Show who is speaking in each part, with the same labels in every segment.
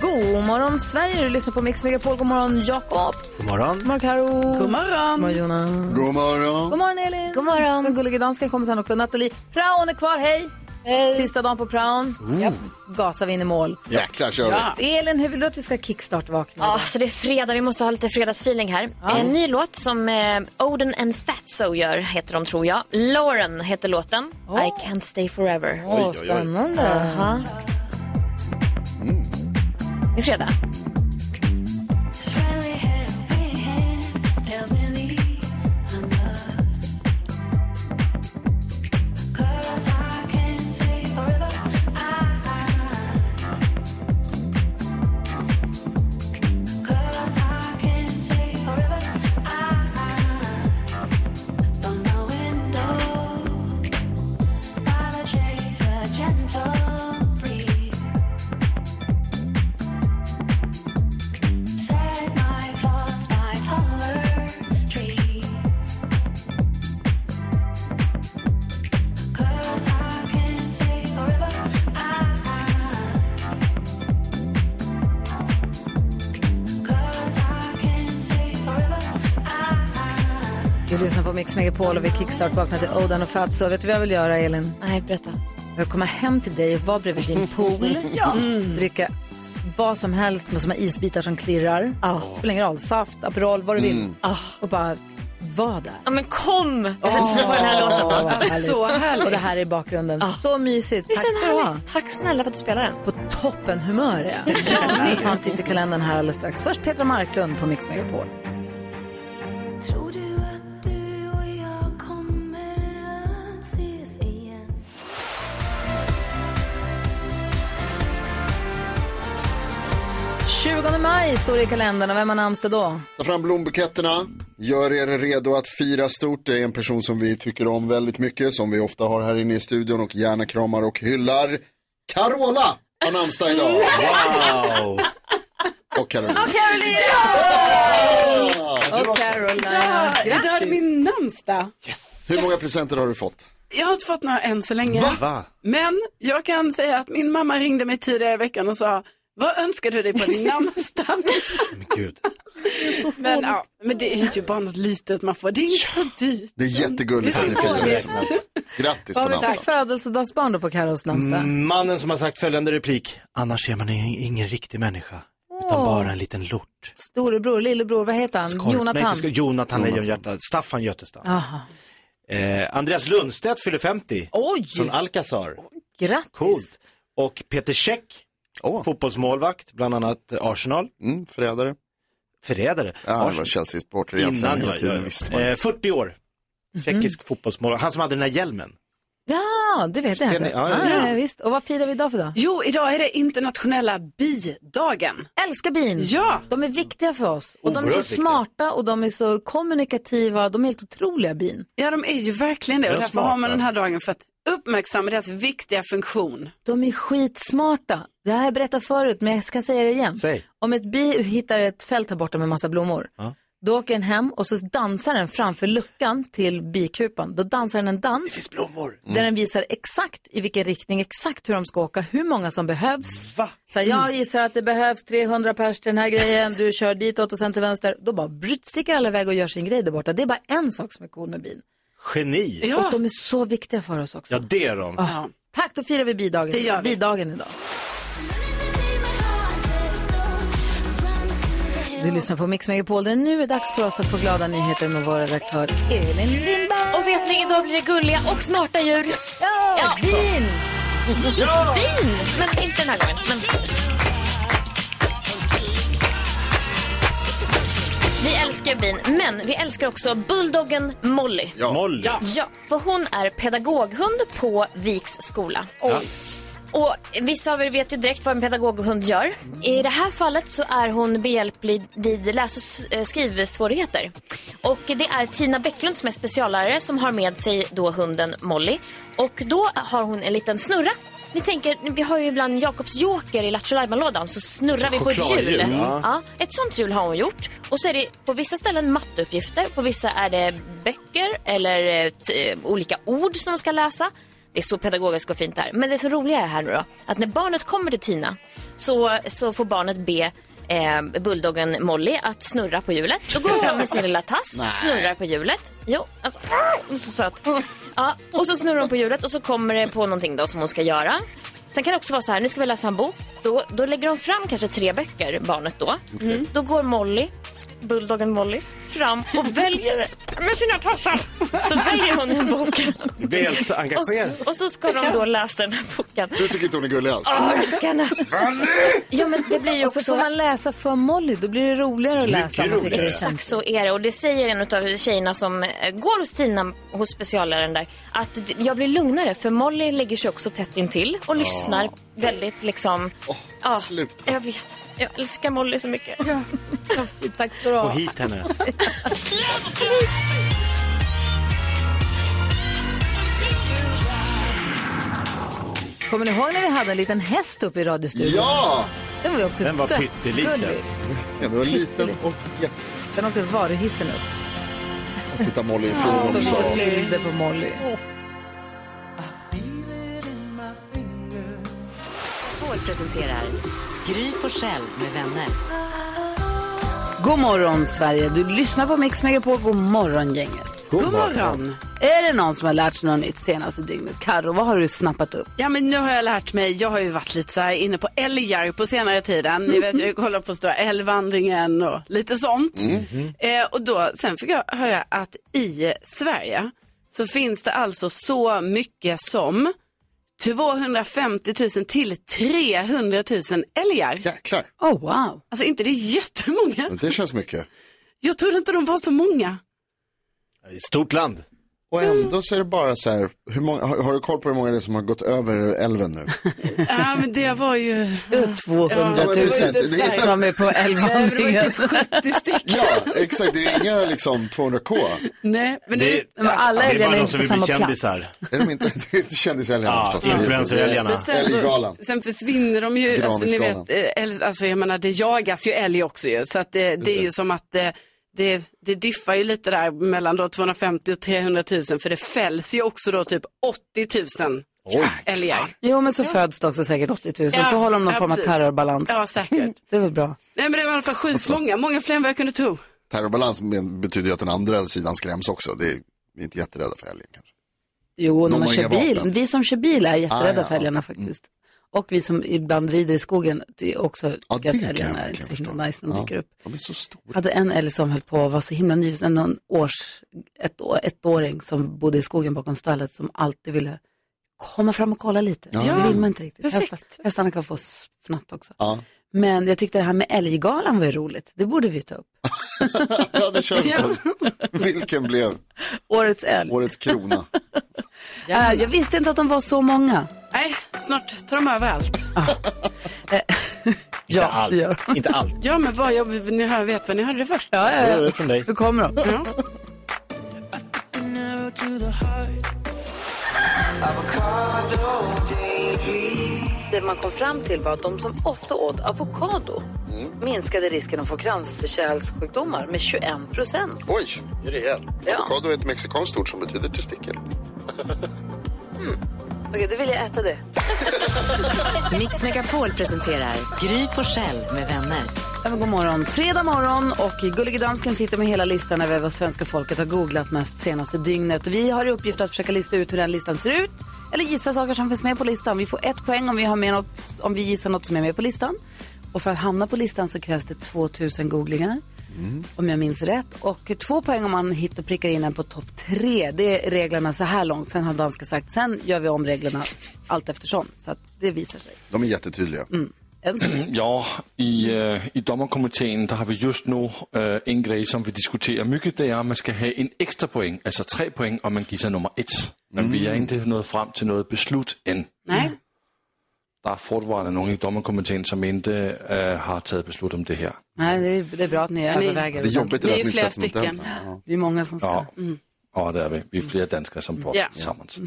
Speaker 1: God morgon Sverige, du lyssnar på Mix Megapol. God morgon Jakob.
Speaker 2: God morgon.
Speaker 1: God morgon Karo. God morgon. God morgon Jonas.
Speaker 2: God morgon.
Speaker 1: God morgon Elin. God morgon. Den gullige dansken kommer sen också. Nathalie Praon är kvar, hej. Hej. Sista dagen på praon. Mm. Gasar vi in i mål.
Speaker 2: Jäklar kör vi.
Speaker 1: Elin, hur vill du att vi ska kickstart-vakna?
Speaker 3: Ja, så det är fredag. Vi måste ha lite fredagsfeeling här. En ny låt som eh, Oden and Fatso gör, heter de tror jag. Lauren heter låten. I can't stay forever.
Speaker 1: Åh, spännande.
Speaker 3: Aha. Det är fredag.
Speaker 1: Du lyssnar på Mix Megapol och vi kickstart-vaknar till Oden och Fatso. Vet du vad jag vill göra Elin?
Speaker 3: Nej, berätta.
Speaker 1: Jag kommer hem till dig och vara bredvid din pool.
Speaker 3: Ja.
Speaker 1: Mm. Dricka vad som helst med som har isbitar som klirrar. Spelar ingen roll. Saft, Aperol, vad du vill. Och bara vara där.
Speaker 3: Ja, men kom! Jag sätter på den här låten.
Speaker 1: Åh, vad härligt.
Speaker 4: Så härligt.
Speaker 1: Och det här är bakgrunden. Så mysigt.
Speaker 3: Det är
Speaker 1: Tack
Speaker 3: så
Speaker 1: ska du ha.
Speaker 3: härligt. Tack snälla för att du spelar den.
Speaker 1: På toppen humör är jag. Jag tar en titt i kalendern här alldeles strax. Först Petra Marklund på Mix Megapol.
Speaker 5: Tror du att du och jag kommer att ses igen?
Speaker 1: Tjugonde maj står det i kalendern och vem har namnsdag då?
Speaker 2: Ta fram blombuketterna. Gör er redo att fira stort. Det är en person som vi tycker om väldigt mycket, som vi ofta har här inne i studion och gärna kramar och hyllar. Carola har namnsdag idag.
Speaker 6: Wow!
Speaker 2: Och Caroline.
Speaker 1: Och Carolina.
Speaker 7: Ja, du hade min namnsdag.
Speaker 2: Hur många presenter har du fått?
Speaker 7: Jag har inte fått några än så länge.
Speaker 6: Va?
Speaker 7: Men jag kan säga att min mamma ringde mig tidigare i veckan och sa, vad önskar du dig på din namnsdag?
Speaker 6: Men gud.
Speaker 7: men, ja, men det är ju bara något litet man får. Det är inte så dyrt.
Speaker 2: Det är jättegulligt
Speaker 7: Det
Speaker 2: att ni
Speaker 7: är så
Speaker 2: firar
Speaker 7: gulligt.
Speaker 2: det. Grattis
Speaker 1: Vad
Speaker 2: på
Speaker 1: har vi för
Speaker 2: namnsdagen.
Speaker 1: födelsedagsbarn då på Carros namnsdag?
Speaker 6: Mm, Mannen som har sagt följande replik. Annars är man i- ingen riktig människa. Utan
Speaker 1: Åh.
Speaker 6: bara en liten lort.
Speaker 1: Storebror, lillebror, vad heter han?
Speaker 6: Skorp- Nej,
Speaker 1: Jonathan.
Speaker 6: inte sko- Jonathan Lejonhjärta. Staffan Götestam.
Speaker 1: Aha.
Speaker 6: Eh, Andreas Lundstedt fyller 50.
Speaker 1: Oj,
Speaker 6: Från Alcazar.
Speaker 1: grattis.
Speaker 6: Coolt. Och Peter Käck. Fotbollsmålvakt, bland annat eh, Arsenal.
Speaker 2: Mm, förrädare.
Speaker 6: Förrädare.
Speaker 2: Ja, det var
Speaker 6: Ars-
Speaker 2: Chelseas supporter egentligen
Speaker 6: Innan
Speaker 2: hela
Speaker 6: jag, jag,
Speaker 2: tiden, visste man.
Speaker 6: eh, 40 år.
Speaker 1: Mhm.
Speaker 6: Tjeckisk fotbollsmålvakt. Han som hade den här hjälmen.
Speaker 1: Ja, det vet jag.
Speaker 6: Ser
Speaker 1: Alltså.
Speaker 6: ni?
Speaker 1: Ja,
Speaker 6: Ja, ja,
Speaker 1: ja,
Speaker 6: ja.
Speaker 1: visst. Och vad firar vi idag för dag?
Speaker 7: Jo, idag är det internationella bidagen.
Speaker 1: Älskar bin.
Speaker 7: Ja.
Speaker 1: De är viktiga för oss. Och de är så
Speaker 6: Oerhört viktiga.
Speaker 1: smarta och de är så kommunikativa. De är helt otroliga bin.
Speaker 7: Ja, de är ju verkligen det.
Speaker 6: Är
Speaker 7: Och
Speaker 6: de
Speaker 7: därför
Speaker 6: smarta?
Speaker 7: har man den här dagen för att uppmärksamma deras viktiga funktion.
Speaker 1: De är skitsmarta. Det här har jag berättat förut, men jag ska säga det igen.
Speaker 6: Säg.
Speaker 1: Om ett bi hittar ett fält här borta med massa blommor,
Speaker 6: Ja.
Speaker 1: då åker den hem och så dansar den framför luckan till bikupan. Då dansar den en dans.
Speaker 6: finns blommor.
Speaker 1: Där den visar exakt i vilken riktning, exakt hur de ska åka, hur många som behövs.
Speaker 6: Va?
Speaker 1: Så här, jag gissar att det behövs 300 pers till den här grejen, du kör ditåt och sen till vänster. Då bara bryt, sticker alla iväg och gör sin grej där borta. Det är bara en sak som är cool med bin.
Speaker 6: Geni. Ja,
Speaker 1: Och de är så viktiga för oss också.
Speaker 6: det är de.
Speaker 7: Ja.
Speaker 1: Ah. Tack, då firar vi bidagen,
Speaker 7: Det gör vi.
Speaker 1: bidagen idag. Du lyssnar på Mix Megapol där det nu är dags för oss att få glada nyheter med vår redaktör Elin Lindberg.
Speaker 3: Och vet ni, idag blir det gulliga och smarta djur.
Speaker 1: Ja, bin!
Speaker 3: Bin! Men inte den här gången. Men... Vi älskar bin, men vi älskar också bulldoggen Molly.
Speaker 6: Molly.
Speaker 3: Ja, för hon är pedagoghund på Viks skola. Och vissa av er vet ju direkt vad en pedagoghund gör. I det här fallet så är hon behjälplig vid läs och s- eh, skrivsvårigheter. Och det är Tina Bäcklund som är speciallärare som har med sig då hunden Molly. Och då har hon en liten snurra. Ni tänker, vi har ju ibland Jakobs joker i Lattjo Lajban-lådan så snurrar vi på ett hjul.
Speaker 6: chokladhjul, ja.
Speaker 3: Ja, ett sånt hjul har hon gjort. Och så är det på vissa ställen matteuppgifter, på vissa är det böcker eller eh, t- eh, olika ord som de ska läsa. Det är så pedagogiskt och fint där. Men det som roliga är här nu då, att när barnet kommer till Tina så, så får barnet be eh, bulldoggen Molly att snurra på hjulet. Då går hon fram med sin lilla tass, Alltså, snurrar på hjulet. Jo, alltså, ah, hon är så söt. Ja, och så snurrar hon på hjulet och så kommer det på någonting då som hon ska göra. Sen kan det också vara så här, nu ska vi läsa en bok. Då, då lägger de fram kanske tre böcker, barnet då. Mm. Då går Molly, bulldoggen Molly, fram och väljer med sina tassar. Så väljer hon en bok.
Speaker 6: Helt
Speaker 3: Och,
Speaker 6: engagerad.
Speaker 3: så- och så ska de då läsa den här boken.
Speaker 2: Du tycker inte hon är gullig alls?
Speaker 3: Åh, jag älskar henne. Ja, men det blir ju
Speaker 1: Och så får
Speaker 3: också...
Speaker 1: man läsa för Molly, då blir det roligare att
Speaker 6: Mycket
Speaker 1: läsa. om man tycker det
Speaker 6: roligare.
Speaker 1: känns.
Speaker 3: Exakt så är det. Och det säger en av tjejerna som eh, går hos Tina, hos specialläraren där, att d- jag blir lugnare för Molly ligger sig också tätt intill och lyssnar väldigt liksom... Ja,
Speaker 2: sluta.
Speaker 3: jag vet. Jag älskar Molly så mycket.
Speaker 1: Tack ska du ha.
Speaker 6: Få hit henne.
Speaker 1: Kommer ni ihåg när vi hade en liten häst uppe i radiostudion?
Speaker 2: Ja!
Speaker 1: Den var ju också
Speaker 6: Den var
Speaker 1: dödsgullig.
Speaker 6: pytteliten.
Speaker 2: ja! Det var liten och jätte...
Speaker 1: Den åkte varuhissen upp.
Speaker 2: Titta Molly är fin
Speaker 1: Och då
Speaker 2: också.
Speaker 1: så bilder på Molly.
Speaker 4: Paul presenterar Gry Forssell med vänner.
Speaker 1: God morgon Sverige, du lyssnar på Mix Megapol. God morgon gänget.
Speaker 7: God morgon.
Speaker 1: Är det någon som har lärt sig något nytt senaste dygnet? Karo, vad har du snappat upp?
Speaker 7: Ja, men nu har jag lärt mig. Jag har ju varit lite så här inne på älgar på senare tiden. Ni vet, jag kollar på Stora älgvandringen och lite sånt. Eh, och då, sen fick jag höra att i Sverige så finns det alltså så mycket som 250 000 till 300 000 älgar.
Speaker 2: Jäklar,
Speaker 1: Oh wow.
Speaker 7: Alltså inte det är jättemånga.
Speaker 2: det känns mycket.
Speaker 7: Jag trodde inte de var så många.
Speaker 6: Stort land.
Speaker 2: Och ändå så är det bara så här, hur många, har, har du koll på hur många det är som har gått över älven nu?
Speaker 7: Ja, men det var ju
Speaker 1: Ö, 200
Speaker 2: Ja,
Speaker 1: 000
Speaker 2: men det var ju inte så.
Speaker 1: som är på älvvandringen.
Speaker 7: 70 typ stycken.
Speaker 2: Ja, exakt, det är inga liksom 200k.
Speaker 7: Nej, men det,
Speaker 1: Men alla
Speaker 6: det är
Speaker 1: älgarna är
Speaker 6: bara de
Speaker 1: inte på
Speaker 6: som vill bli
Speaker 1: samma plats.
Speaker 6: kändisar.
Speaker 2: Är de inte, det är kändisälgarna
Speaker 6: Ja,
Speaker 2: förstås. Det är-
Speaker 6: influencerälgarna.
Speaker 2: det är- Älggalan.
Speaker 7: så, sen försvinner de ju, alltså, ni
Speaker 2: Granisgalan.
Speaker 7: vet, eh, älg, alltså jag menar det jagas ju älg också ju, så att det, det är ju som att eh, det, det diffar ju lite där mellan då 250 och 300 000 för det fälls ju också då typ 80 000 älgar.
Speaker 1: Jo, men så föds det också säkert 80 000.
Speaker 7: Ja,
Speaker 1: så håller de någon
Speaker 7: ja,
Speaker 1: form av
Speaker 7: precis.
Speaker 1: terrorbalans.
Speaker 7: Ja, säkert.
Speaker 1: Det är väl bra.
Speaker 7: Nej men det var i alla fall skitmånga, många fler än vad jag kunde tro.
Speaker 2: Terrorbalans men- betyder ju att den andra sidan skräms också. Det är, vi är inte jätterädda för älgen kanske.
Speaker 1: Jo, när
Speaker 2: De
Speaker 1: man
Speaker 2: har
Speaker 1: kör
Speaker 2: inga
Speaker 1: bil.
Speaker 2: vapen.
Speaker 1: Vi som kör bil är
Speaker 2: Ah,
Speaker 1: jätterädda
Speaker 2: ja,
Speaker 1: för älgarna faktiskt. Och vi som ibland rider i skogen det är också
Speaker 2: Ja,
Speaker 1: tycker
Speaker 2: det kan
Speaker 1: att
Speaker 2: jag
Speaker 1: älgarna är
Speaker 2: verkligen
Speaker 1: så himla
Speaker 2: förstå.
Speaker 1: nice när de
Speaker 2: Ja.
Speaker 1: dyker upp.
Speaker 2: De är så
Speaker 1: Jag
Speaker 2: stora.
Speaker 1: hade en älg som höll på och var så himla nyfiken, någon års, ett, å- ettåring som bodde i skogen bakom stallet som alltid ville komma fram och kolla lite.
Speaker 2: Ja.
Speaker 1: Det vill man inte riktigt.
Speaker 7: Perfekt.
Speaker 1: Hästar, hästarna kan få fnatt också.
Speaker 2: Ja,
Speaker 1: Men jag tyckte det här med älggalan var ju roligt. Det borde vi ta upp.
Speaker 2: ja det kör vi på. Vilken blev
Speaker 1: Årets älg.
Speaker 2: årets krona?
Speaker 1: Äh, jag visste inte att de var så många.
Speaker 7: Nej, snart tar de över allt.
Speaker 6: Inte
Speaker 1: Ja, det gör
Speaker 6: allt. Inte allt.
Speaker 7: Ja men vad, jag, ni hör, vet vad ni hörde det först.
Speaker 6: Det är från dig.
Speaker 1: Nu kommer de. Det man kom fram till var att de som ofta åt avokado minskade risken att få kranskärlssjukdomar med 21 procent.
Speaker 2: Oj,
Speaker 6: Det är rejält.
Speaker 2: avokado är ett mexikanskt ord som betyder testikel.
Speaker 1: Okej, då vill jag äta det.
Speaker 4: Mix Megapol presenterar Gry Forssell med vänner.
Speaker 1: Ja, men god morgon. Fredag morgon och Gullige Dansken sitter med hela listan över vad svenska folket har googlat mest senaste dygnet. Och vi har i uppgift att försöka lista ut hur den listan ser ut eller gissa saker som finns med på listan. Vi får ett poäng om vi, har med något, om vi gissar något som är med på listan. Och för att hamna på listan så krävs det 2000 googlingar. Om jag minns rätt. Och två poäng om man hittar prickar in en på topp tre. Det är reglerna så här långt. Sen har dansken sagt, sen gör vi om reglerna allt eftersom. Så att det visar sig.
Speaker 2: De är jättetydliga.
Speaker 7: Mm.
Speaker 1: Än så länge.
Speaker 8: Ja, i, øh, i dommerkomiteen, der har vi just nu øh, en grej, som vi diskuterer mycket, det er, at man skal have en ekstra point, altså tre
Speaker 2: Mm.
Speaker 8: point, og man giver sig nummer et. Men vi er ikke nået frem til noget beslut end.
Speaker 7: Nej.
Speaker 8: der er fortfarande nogen i dommerkomiteen, som ikke øh, har taget beslut om det her.
Speaker 1: Nej, det är, det är bra att ni
Speaker 7: ni-
Speaker 1: överväger.
Speaker 8: Det är jobbigt det där
Speaker 1: det
Speaker 8: att
Speaker 1: är
Speaker 8: ni
Speaker 1: flera
Speaker 8: sätter mot
Speaker 1: stycken.
Speaker 8: den. Ja.
Speaker 1: Vi är många som ska.
Speaker 8: Ja.
Speaker 1: Mm.
Speaker 8: Og der er vi. Vi er flere danskere, som bor
Speaker 7: Ja.
Speaker 8: tillsammans.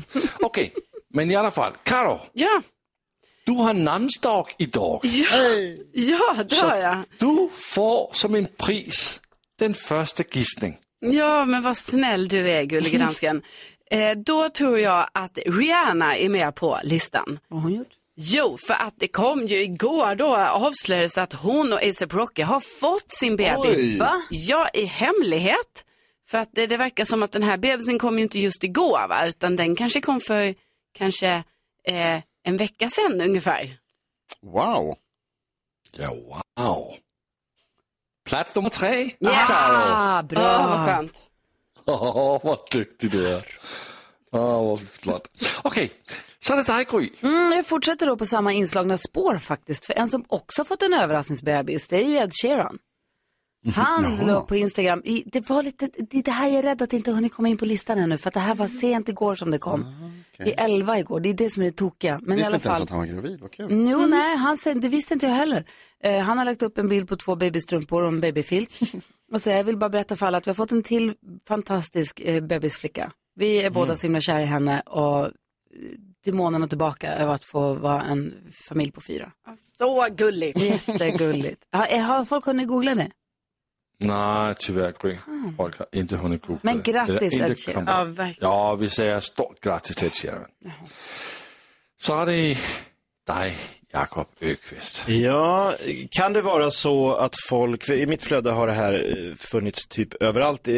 Speaker 8: Okay, men i alla fall, Karo,
Speaker 7: Ja,
Speaker 8: du har namnsdag i dag.
Speaker 7: ja, ja det
Speaker 8: Så-
Speaker 7: har jag.
Speaker 8: Du får som en pris den første gissning.
Speaker 7: Ja, men vad snäll du är, gullige dansken. Eh, då tror jag att Rihanna är med på listan. Vad
Speaker 1: har hon gjort?
Speaker 7: Jo, för att det kom ju igår då avslöjades att hon och ASAP Rocky har fått sin bebis.
Speaker 1: Oj. Va?
Speaker 7: Ja, i hemlighet. För att det, det verkar som att den här bebisen kom ju inte just igår, va? utan den kanske kom för kanske eh, en vecka sedan ungefär.
Speaker 2: Wow.
Speaker 8: Ja, wow. Plats nummer tre. Yes.
Speaker 7: Ah, bra. vad skönt.
Speaker 8: Åh, oh, hvor dygtig du er. Åh, oh, hvor flot. Okay, så er det dig, Gry.
Speaker 1: Mm, jag fortsätter då på samma inslagna spår faktiskt. För en som också fått en överraskningsbebis, det är ju Ed Sheeran. Han
Speaker 5: Jaha.
Speaker 1: la på Instagram, i- det var lite, det är det här jag är rädd att det inte hunnit komma in på listan ännu, för att det här var sent igår som det
Speaker 8: Ah,
Speaker 1: kom. I elva igår, det är det som är det tokiga. Men i
Speaker 2: Visste
Speaker 1: alla
Speaker 2: inte ens
Speaker 1: fall.
Speaker 2: att han var gravid, vad kul.
Speaker 1: Jo, nej, han säger, det visste inte jag heller. Eh, han har lagt upp en bild på två babystrumpor och en babyfilt. och så jag vill bara berätta för alla att vi har fått en till fantastisk eh, bebisflicka. Vi är
Speaker 6: Mm.
Speaker 1: båda så himla kära i henne och eh, till månen och tillbaka över att få vara en familj på fyra.
Speaker 7: Så gulligt.
Speaker 1: Jättegulligt. Har, eh, har folk hunnit googla det?
Speaker 8: Nej, tyvärr, Gry. Folk har inte hunnit googla
Speaker 1: Ah. Men
Speaker 8: det. Det
Speaker 1: grattis,
Speaker 8: er ikke
Speaker 1: Ed Sheeran.
Speaker 8: kommet.
Speaker 7: Ja, verkligen.
Speaker 8: Ja, vi säger stort grattis till Ed Sheeran. Så är det dig, Jakob Ökvist.
Speaker 6: Ja, kan det vara så att folk, för i mitt flöde har det här eh, funnits typ överallt, eh,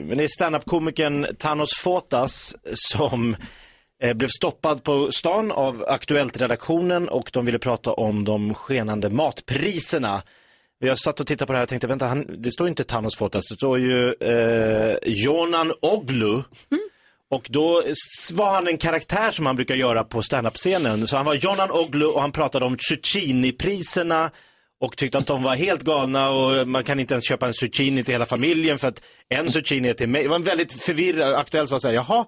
Speaker 6: men det är standup-komikern Thanos Fotas som eh, blev stoppad på stan av Aktuellt-redaktionen och de ville prata om de skenande matpriserna. Jag satt och tittade på det här och tänkte, vänta, han, det står ju inte Thanos Fotas, det står ju eh, Jonan Oglu. Och då s- var han en karaktär som han brukar göra på standup-scenen. Så han var Jonan Oglu och han pratade om zucchini-priserna och tyckte att de var helt galna och man kan inte ens köpa en zucchini till hela familjen för att en zucchini är till mig. Det var en väldigt förvirrad, aktuellt var så här, jaha.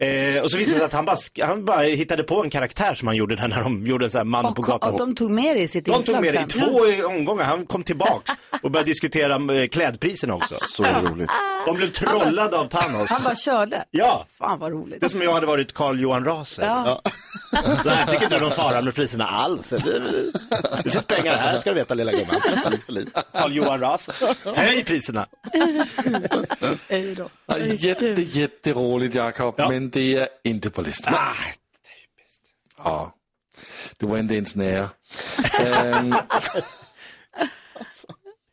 Speaker 6: Eh, och så visade det sig att han bara, sk- han bara hittade på en karaktär som han gjorde där när de gjorde en sån här man på
Speaker 1: Och,
Speaker 6: gatan.
Speaker 1: de tog med det i sitt
Speaker 6: De tog
Speaker 1: inslag
Speaker 6: med det i
Speaker 1: sen.
Speaker 6: två eh, omgångar, han kom tillbaks och började diskutera eh, klädpriserna också.
Speaker 2: Så roligt.
Speaker 6: De blev trollade av Thanos.
Speaker 1: Han bara körde.
Speaker 6: Ja.
Speaker 1: Fan vad roligt.
Speaker 6: Det är som om jag hade varit Carl Johan Raser.
Speaker 1: Ja.
Speaker 6: Nej, jag tycker inte de farar med priserna alls. Det, det finns pengar här ska du veta lilla gumman. Carl Johan Raser. Höj priserna.
Speaker 8: Ja, jätte, jätteroligt, Jakob, men det är inte på listan. Ah, Ja, du var inte ens nära. Ehm,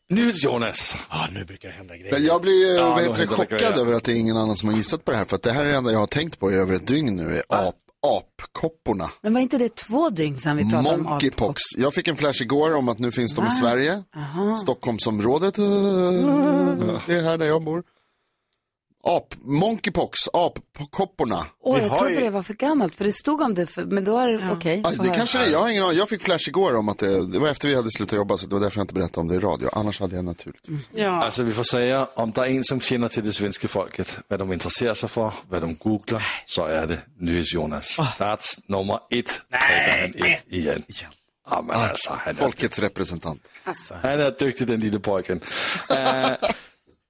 Speaker 8: Nyhets Jonas.
Speaker 6: Alltså. Ja, nu brukar det hända grejer.
Speaker 2: Men jag blir
Speaker 8: Ja,
Speaker 2: ja,
Speaker 8: då
Speaker 2: vet, du,
Speaker 8: händer det
Speaker 2: chockad
Speaker 8: grejer.
Speaker 2: över att det är ingen annan som har gissat på det här. För att det här är det enda jag har tänkt på i över ett dygn nu. Är ap, apkopporna.
Speaker 1: Men var inte det två dygn sedan vi pratade om apor?
Speaker 2: Monkeypox. Jag fick en flash igår om att nu finns de
Speaker 1: Va?
Speaker 2: i Sverige.
Speaker 1: Aha.
Speaker 2: Stockholmsområdet. eh, Det är här där jag bor. Ap, monkeypox, apkopporna.
Speaker 1: Åh, jag trodde det var för gammalt, för det stod om det, för, men då är det okej.
Speaker 2: Aj, det kanske det är. Jag har ingen aning. Jag fick flash igår om att det, det var efter vi hade slutat jobba så det var därför jag inte berättade om det i radio. Annars hade jag naturligtvis.
Speaker 7: Ja.
Speaker 8: Alltså, vi får säga, om det är en som känner till det svenska folket, vad de intresserar sig för, vad de googlar, så är det Nyhets Jonas. Plats nummer ett trycker han in igen. Ja, men alltså, han är
Speaker 2: Folkets representant.
Speaker 8: Han är dygtig den lille pojken. Eh,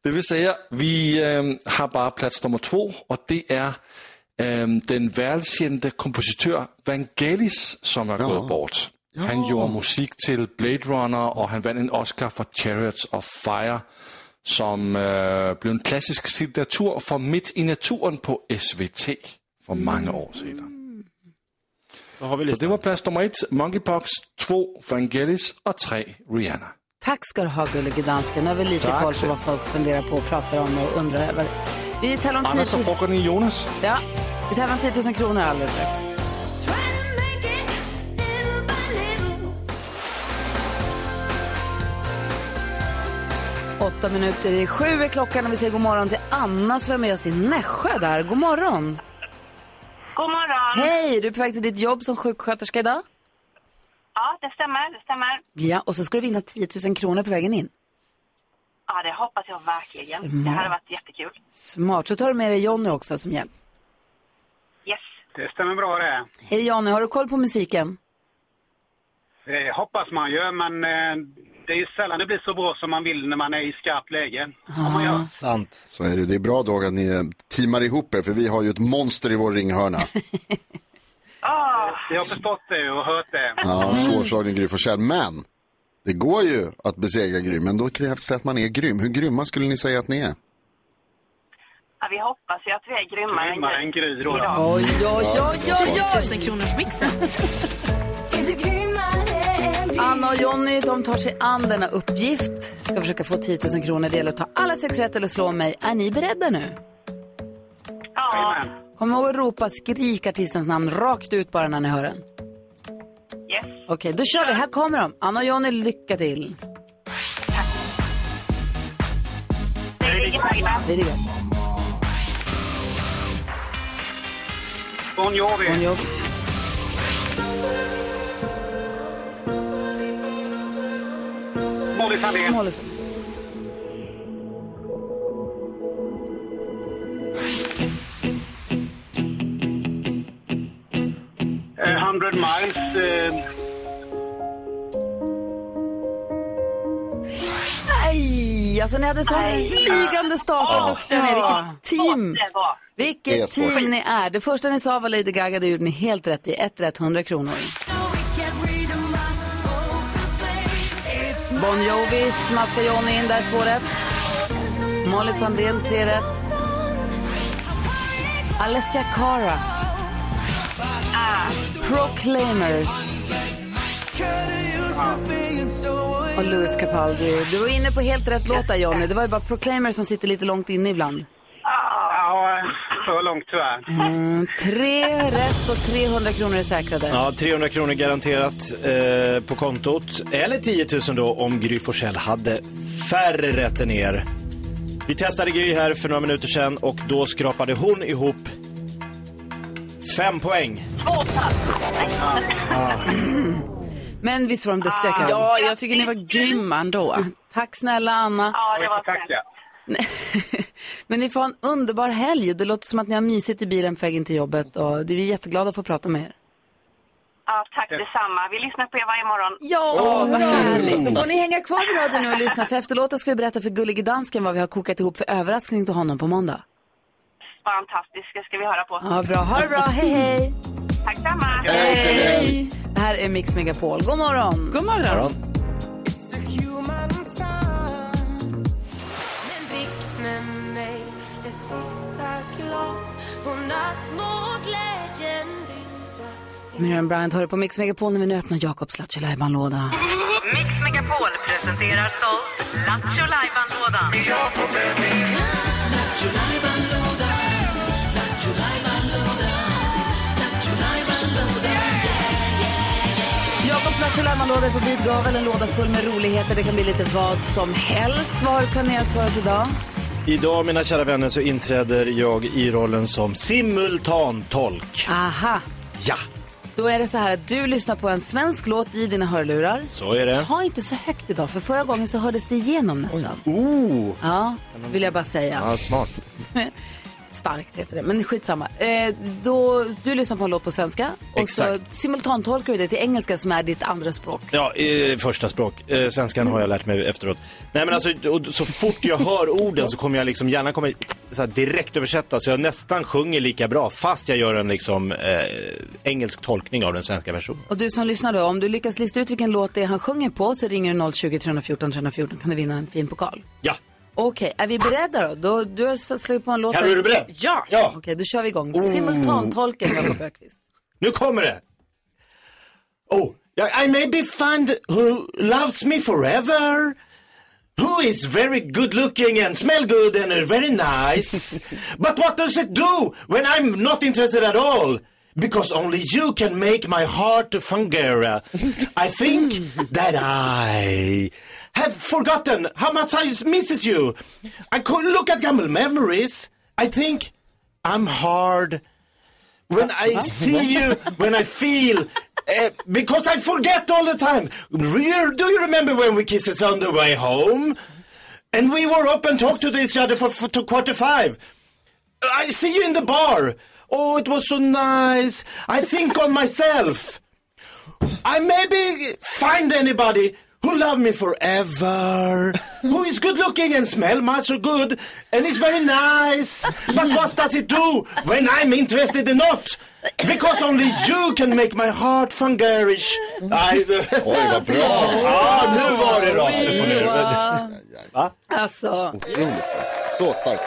Speaker 8: det vill säga, vi ehm, har bara plats nummer två och det är ehm, den välkända kompositör Vangelis som har gått bort. Han gjorde musik till Blade Runner och han vann en Oscar för Chariots of Fire som eh, blev en klassisk signatur för Mitt i naturen på SVT för många år sedan. Så det var plats nummer ett, Monkeypox, två Vangelis och tre Rihanna.
Speaker 1: Tack ska du ha, gullige dansken. Nu har vi lite
Speaker 8: Tack
Speaker 1: koll på
Speaker 8: så-
Speaker 1: vad folk funderar på, och pratar om och undrar över. Vi tävlar om 10
Speaker 8: Annars så
Speaker 1: 000,
Speaker 8: frågar ni Jonas.
Speaker 1: ja, vi tävlar om 10 000 kronor alldeles strax. Åtta minuter i sju är klockan och vi säger god morgon till Anna som är med oss i Nässjö där. God morgon!
Speaker 9: God morgon.
Speaker 1: Hej! Du är på väg till ditt jobb som sjuksköterska idag.
Speaker 9: Ja, det stämmer. Det stämmer.
Speaker 1: Ja, och så ska du vinna 10 000 kronor på vägen in.
Speaker 9: Ja, det hoppas jag verkligen. Det hade varit jättekul.
Speaker 1: Smart. Så tar du med dig Jonny också som hjälp.
Speaker 9: Yes.
Speaker 10: Det stämmer bra det.
Speaker 1: Hej Jonny, har du koll på musiken?
Speaker 10: Eh, hoppas man ju, men eh, det är ju sällan det blir så bra som man vill när man är i skarpt läge.
Speaker 6: Oh
Speaker 10: Om man gör.
Speaker 6: Sant.
Speaker 2: Så är det. Det är bra då att ni eh, teamar ihop er, för vi har ju ett monster i vår ringhörna.
Speaker 10: Ah, jag har förstått det och hört det.
Speaker 2: Ja, svårslagen Gry Forssell. Men det går ju att besegra Gry, men då krävs det att man är grym. Hur grymma skulle ni säga att ni är?
Speaker 9: Ja, vi hoppas ju att vi är grymmare än
Speaker 10: Grymmare än Gry då.
Speaker 9: Ja. Oj, oj, oj, oj, oj.
Speaker 1: 1000 kronors mixen. Anna och Jonny de tar sig an denna uppgift. Ska försöka få 10 000 kronor. Det gäller att ta alla sex rätt eller slå mig. Är ni beredda nu?
Speaker 9: Ja.
Speaker 1: Kom ihåg att ropa skrik artistens namn rakt ut bara när ni hör den.
Speaker 9: Yes.
Speaker 1: Okej, då kör vi. Här kommer de. Anna och Jonny, lycka till. Det är det.
Speaker 10: Bon Jovi. Bon
Speaker 1: Jovi.
Speaker 10: Molly Sandén.
Speaker 1: Molly
Speaker 10: Eh, 100 miles. Eh,
Speaker 1: Nej, alltså ni hade sån flygande start. Vad duktiga ni är. Vilket team.
Speaker 5: Det är
Speaker 1: Vilket
Speaker 5: svårt.
Speaker 1: team ni är. Det första ni sa var Lady Gaga, det gjorde ni helt rätt i. Ett rätt, 100 kronor. Bon Jovi smaskar Johnny in där, två rätt. Molly Sandén, tre rätt. Alessia Cara. Proclaimers. Och Louis Capaldi. Du var inne på helt rätt låt där, Johnny. Det var ju bara Proclaimers som sitter lite långt inne ibland.
Speaker 10: ja, för långt tyvärr.
Speaker 1: Mm, tre rätt och 300 kronor är säkrade.
Speaker 6: Ja, 300 kronor garanterat eh, på kontot. Eller 10 000 då om Gry Forssell hade färre rätt än er. Vi testade Gry här för några minuter sedan och då skrapade hon ihop fem poäng. Ah.
Speaker 9: Mm.
Speaker 1: Men visst var de
Speaker 9: Ah,
Speaker 1: duktiga, Karin?
Speaker 7: Ja, jag tycker ni var grymma ändå.
Speaker 1: Tack snälla Anna.
Speaker 7: Ja, det var Tack,
Speaker 1: Men ni får ha en underbar helg. Det låter som att ni har mysigt i bilen på vägen till jobbet. Och det- vi är jätteglada för att få prata med er.
Speaker 9: Ja, tack detsamma. Vi lyssnar på er varje morgon.
Speaker 1: Ja, Åh, vad härligt. Så får ni hänga kvar vid radion nu och lyssna. För efter låten ska vi berätta för gullige dansken vad vi har kokat ihop för överraskning till honom på måndag.
Speaker 9: Fantastiskt, det ska vi höra på.
Speaker 1: Ja, bra. Ha det bra. Hej, hej.
Speaker 9: Tack samma.
Speaker 1: Det här är Mix Megapol. God morgon.
Speaker 7: God morgon.
Speaker 1: Miriam Bryant hör på Mix Megapol när vi nu öppnar Jakobs Lattjo låda
Speaker 4: Mix Megapol presenterar stolt Lattjo Lajban-lådan.
Speaker 1: Jakobs Lattjo Lajban-låda är på vid gavel. En låda full med roligheter. Det kan bli lite vad som helst. Vad har du planerat för oss idag?
Speaker 6: Idag, mina kära vänner, så inträder jag i rollen som simultantolk.
Speaker 1: Aha.
Speaker 6: Ja,
Speaker 1: Då är det så här att du lyssnar på en svensk låt i dina hörlurar.
Speaker 6: så är det.
Speaker 1: Ha inte så högt idag, för förra gången så hördes det igenom nästan.
Speaker 6: Oh.
Speaker 1: Ja, vill jag bara säga.
Speaker 6: Ja, smart.
Speaker 1: Starkt heter det, men skitsamma. Eh, då, du lyssnar på en låt på svenska och så
Speaker 6: Exakt.
Speaker 1: simultantolkar du det till engelska som är ditt andra språk.
Speaker 6: Ja, eh, första språk. Eh, svenskan har jag lärt mig efteråt. Nej men alltså, och så fort jag hör orden så kommer jag liksom, hjärnan kommer så här direkt översätta så jag nästan sjunger lika bra fast jag gör en liksom eh, engelsk tolkning av den svenska versionen.
Speaker 1: Och du som lyssnar då, om du lyckas lista ut vilken låt det är han sjunger på så ringer du 020 314 314 kan du vinna en fin pokal.
Speaker 6: Ja.
Speaker 1: Okej, är vi beredda då? då du har s- slagit på en låt.
Speaker 6: Kan du, är du beredd?
Speaker 1: Ja!
Speaker 6: Ja.
Speaker 1: Okej, då kör vi igång.
Speaker 6: Oh.
Speaker 1: Simultantolken, Jakob Öqvist.
Speaker 6: Nu kommer det! Oh, I may be found who loves me forever. Who is very good looking and smell good and are very nice. but what does it do when I'm not interested at all? Because only you can make my heart to fungera. I think that I have forgotten how much I misses you. I could look at gamble memories. I think I'm hard when I see you, when I feel, eh, because I forget all the time. Re- Do you remember when we kissed on the way home? And we were up and talked to each other for, for to quarter five. I see you in the bar. Oh, it was so nice. I think on myself. I maybe find anybody who love me forever, who is good looking and smell much so good and is very nice. But what does it do when I'm interested in not? Because only you can make my heart fungerish. I...
Speaker 2: Oj, vad bra.
Speaker 6: Ja, nu var det rakt upp och ner. Va?
Speaker 1: Alltså,
Speaker 2: Otroligt bra. Så starkt.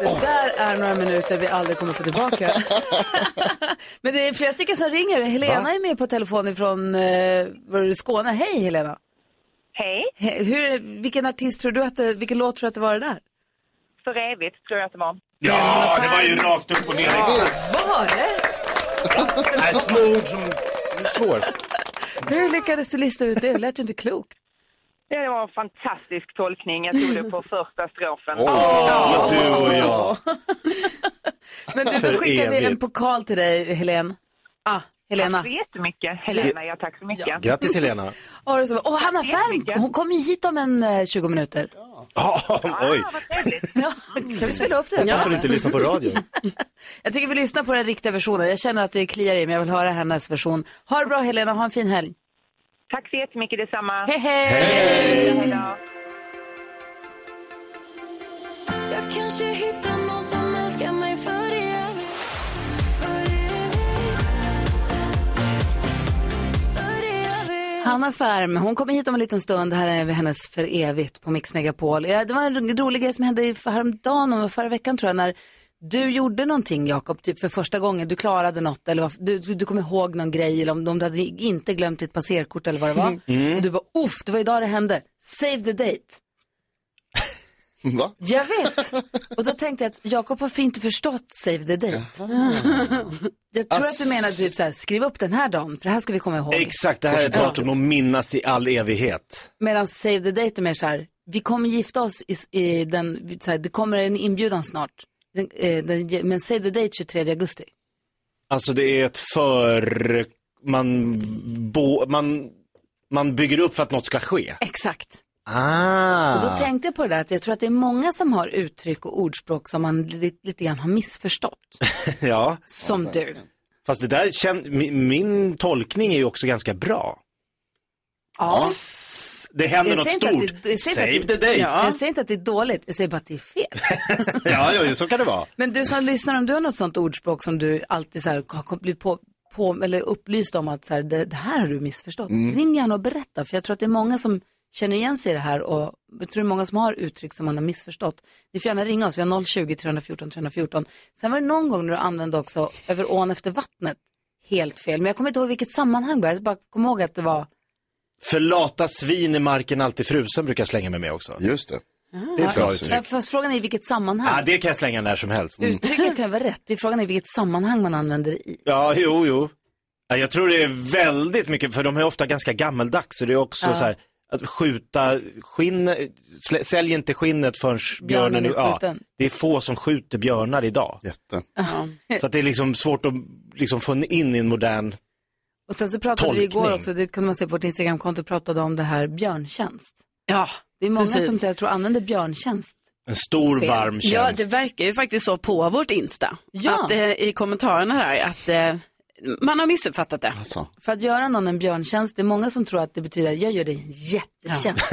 Speaker 1: det där är några minuter vi aldrig kommer få tillbaka. Men det är flera stycken som ringer. Helena
Speaker 11: Va?
Speaker 1: är med på telefon ifrån eh, var det Skåne. Hej Helena!
Speaker 11: Hej!
Speaker 1: He- hur, vilken artist tror du att det, vilken låt tror du att det var det där?
Speaker 11: För evigt tror jag att det var.
Speaker 6: Ja, det var ju rakt upp och ner.
Speaker 1: Vad var det?
Speaker 6: Nej, snor som... Det är svårt.
Speaker 1: Hur lyckades du lista ut det? Det lät ju inte klokt.
Speaker 11: Ja, det var en fantastisk tolkning. Jag tog det på första strofen.
Speaker 6: Åh, du och jag.
Speaker 1: Men du,
Speaker 11: För
Speaker 1: då skickar vi
Speaker 11: evigt.
Speaker 1: en pokal till dig, Helen. Ah, Helena.
Speaker 11: Tack så jättemycket, Helena. Ja, tack så mycket.
Speaker 6: Grattis Helena.
Speaker 1: Ja, det är så bra. Och Hanna Färm, hon kommer ju hit om en eh, 20 minuter.
Speaker 6: oj.
Speaker 1: Kan vi spela upp det?
Speaker 6: Hoppas hon inte lyssnar på radio.
Speaker 1: Jag tycker vi lyssnar på den riktiga versionen. Jag känner att det kliar i mig, jag vill höra hennes version. Ha det bra Helena, ha en fin helg.
Speaker 11: Tack så jättemycket detsamma.
Speaker 1: Hej, hej! Hej!
Speaker 11: Hej då.
Speaker 5: Jag kanske hittar någon som älskar mig för evigt
Speaker 1: Hanna Färm, hon kommer hit om en liten stund. Här är hennes För evigt på Mix Megapol. Ja, Det var en rolig grej som hände i- häromdagen, och förra veckan tror jag, när du gjorde någonting Jakob, typ för första gången. Du klarade något eller vad, du, du du kom ihåg någon grej eller om, om du hade inte glömt ditt passerkort eller vad det var.
Speaker 5: Mm.
Speaker 1: Och du bara, uff, det var idag det hände. Save the date.
Speaker 2: Va?
Speaker 1: Jag vet. Och då tänkte jag att Jakob har inte förstått Save the Date. jag tror att du menar typ så här, skriv upp den här dagen, för det här ska vi komma ihåg.
Speaker 6: Exakt, det här är ett datum att minnas i all evighet.
Speaker 1: Medan Save the Date är mer så här, vi kommer gifta oss i, i den, så här, det kommer en inbjudan snart. Den, eh, den, men Save the Date 23 augusti.
Speaker 6: Alltså det är ett för... Man, bo, man, man bygger upp för att något ska ske.
Speaker 1: Exakt.
Speaker 6: Ah.
Speaker 1: Och då tänkte jag på det där att jag tror att det är många som har uttryck och ordspråk som man lite, lite grann har missförstått.
Speaker 6: ja.
Speaker 1: Som du.
Speaker 6: Fast det där, kän, min, min tolkning är ju också ganska bra.
Speaker 1: Ja.
Speaker 6: S- Det händer
Speaker 1: Jag
Speaker 6: något
Speaker 1: säger inte att
Speaker 6: stort.
Speaker 1: det- jag säger
Speaker 6: Save
Speaker 1: inte
Speaker 6: the
Speaker 1: att det-
Speaker 6: date.
Speaker 1: Jag säger inte att det är dåligt, jag säger bara att det är fel.
Speaker 6: ja, ja, så kan det vara.
Speaker 1: Men du som lyssnar, om du har något sånt ordspråk som du alltid så här, har kom- blivit på, på, eller upplyst om att så här, det, det här har du missförstått.
Speaker 5: Mm.
Speaker 1: Ring gärna och berätta, för jag tror att det är många som känner igen sig i det här och jag tror det är många som har uttryck som man har missförstått. Ni får gärna ringa oss, vi har 020 314 314. Sen var det någon gång när du använde också över ån efter vattnet helt fel, men jag kommer inte ihåg vilket sammanhang det var, jag bara kom ihåg att det var
Speaker 6: För lata svin är marken alltid frusen brukar jag slänga mig med också.
Speaker 2: Just det.
Speaker 6: Ah. Det är ett bra
Speaker 1: Ja,
Speaker 6: uttryck.
Speaker 1: Fast frågan är i vilket sammanhang.
Speaker 6: Ja, det Mm. kan jag slänga när som helst.
Speaker 1: Uttrycket kan ju vara rätt, det är frågan är i vilket sammanhang man använder det i.
Speaker 6: Ja, jo, jo. Ja, Jag tror det är väldigt mycket, för de är ofta ganska gammeldags. Så det är också
Speaker 1: Ja.
Speaker 6: så här, att skjuta skinn, slä- sälj inte skinnet förrän björnen
Speaker 1: Björnen är
Speaker 6: är ja,
Speaker 1: skjuten.
Speaker 6: Det är få som skjuter björnar idag.
Speaker 2: Jätte.
Speaker 6: Så att det är liksom svårt att liksom få in i en modern...
Speaker 1: Och sen så pratade vi
Speaker 6: Tolkning.
Speaker 1: igår också, det kunde man se på vårt Instagramkonto, pratade om det här björntjänst.
Speaker 7: Ja,
Speaker 1: Det är många
Speaker 7: precis.
Speaker 1: som jag tror använder björntjänst.
Speaker 6: En stor
Speaker 7: Fel.
Speaker 6: varm tjänst.
Speaker 7: Ja, det verkar ju faktiskt så på vårt Insta.
Speaker 1: Ja.
Speaker 7: Att, eh, I kommentarerna där, att eh, man har missuppfattat det.
Speaker 1: För att göra någon en björntjänst, det är många som tror att det betyder att jag gör dig en jättetjänst.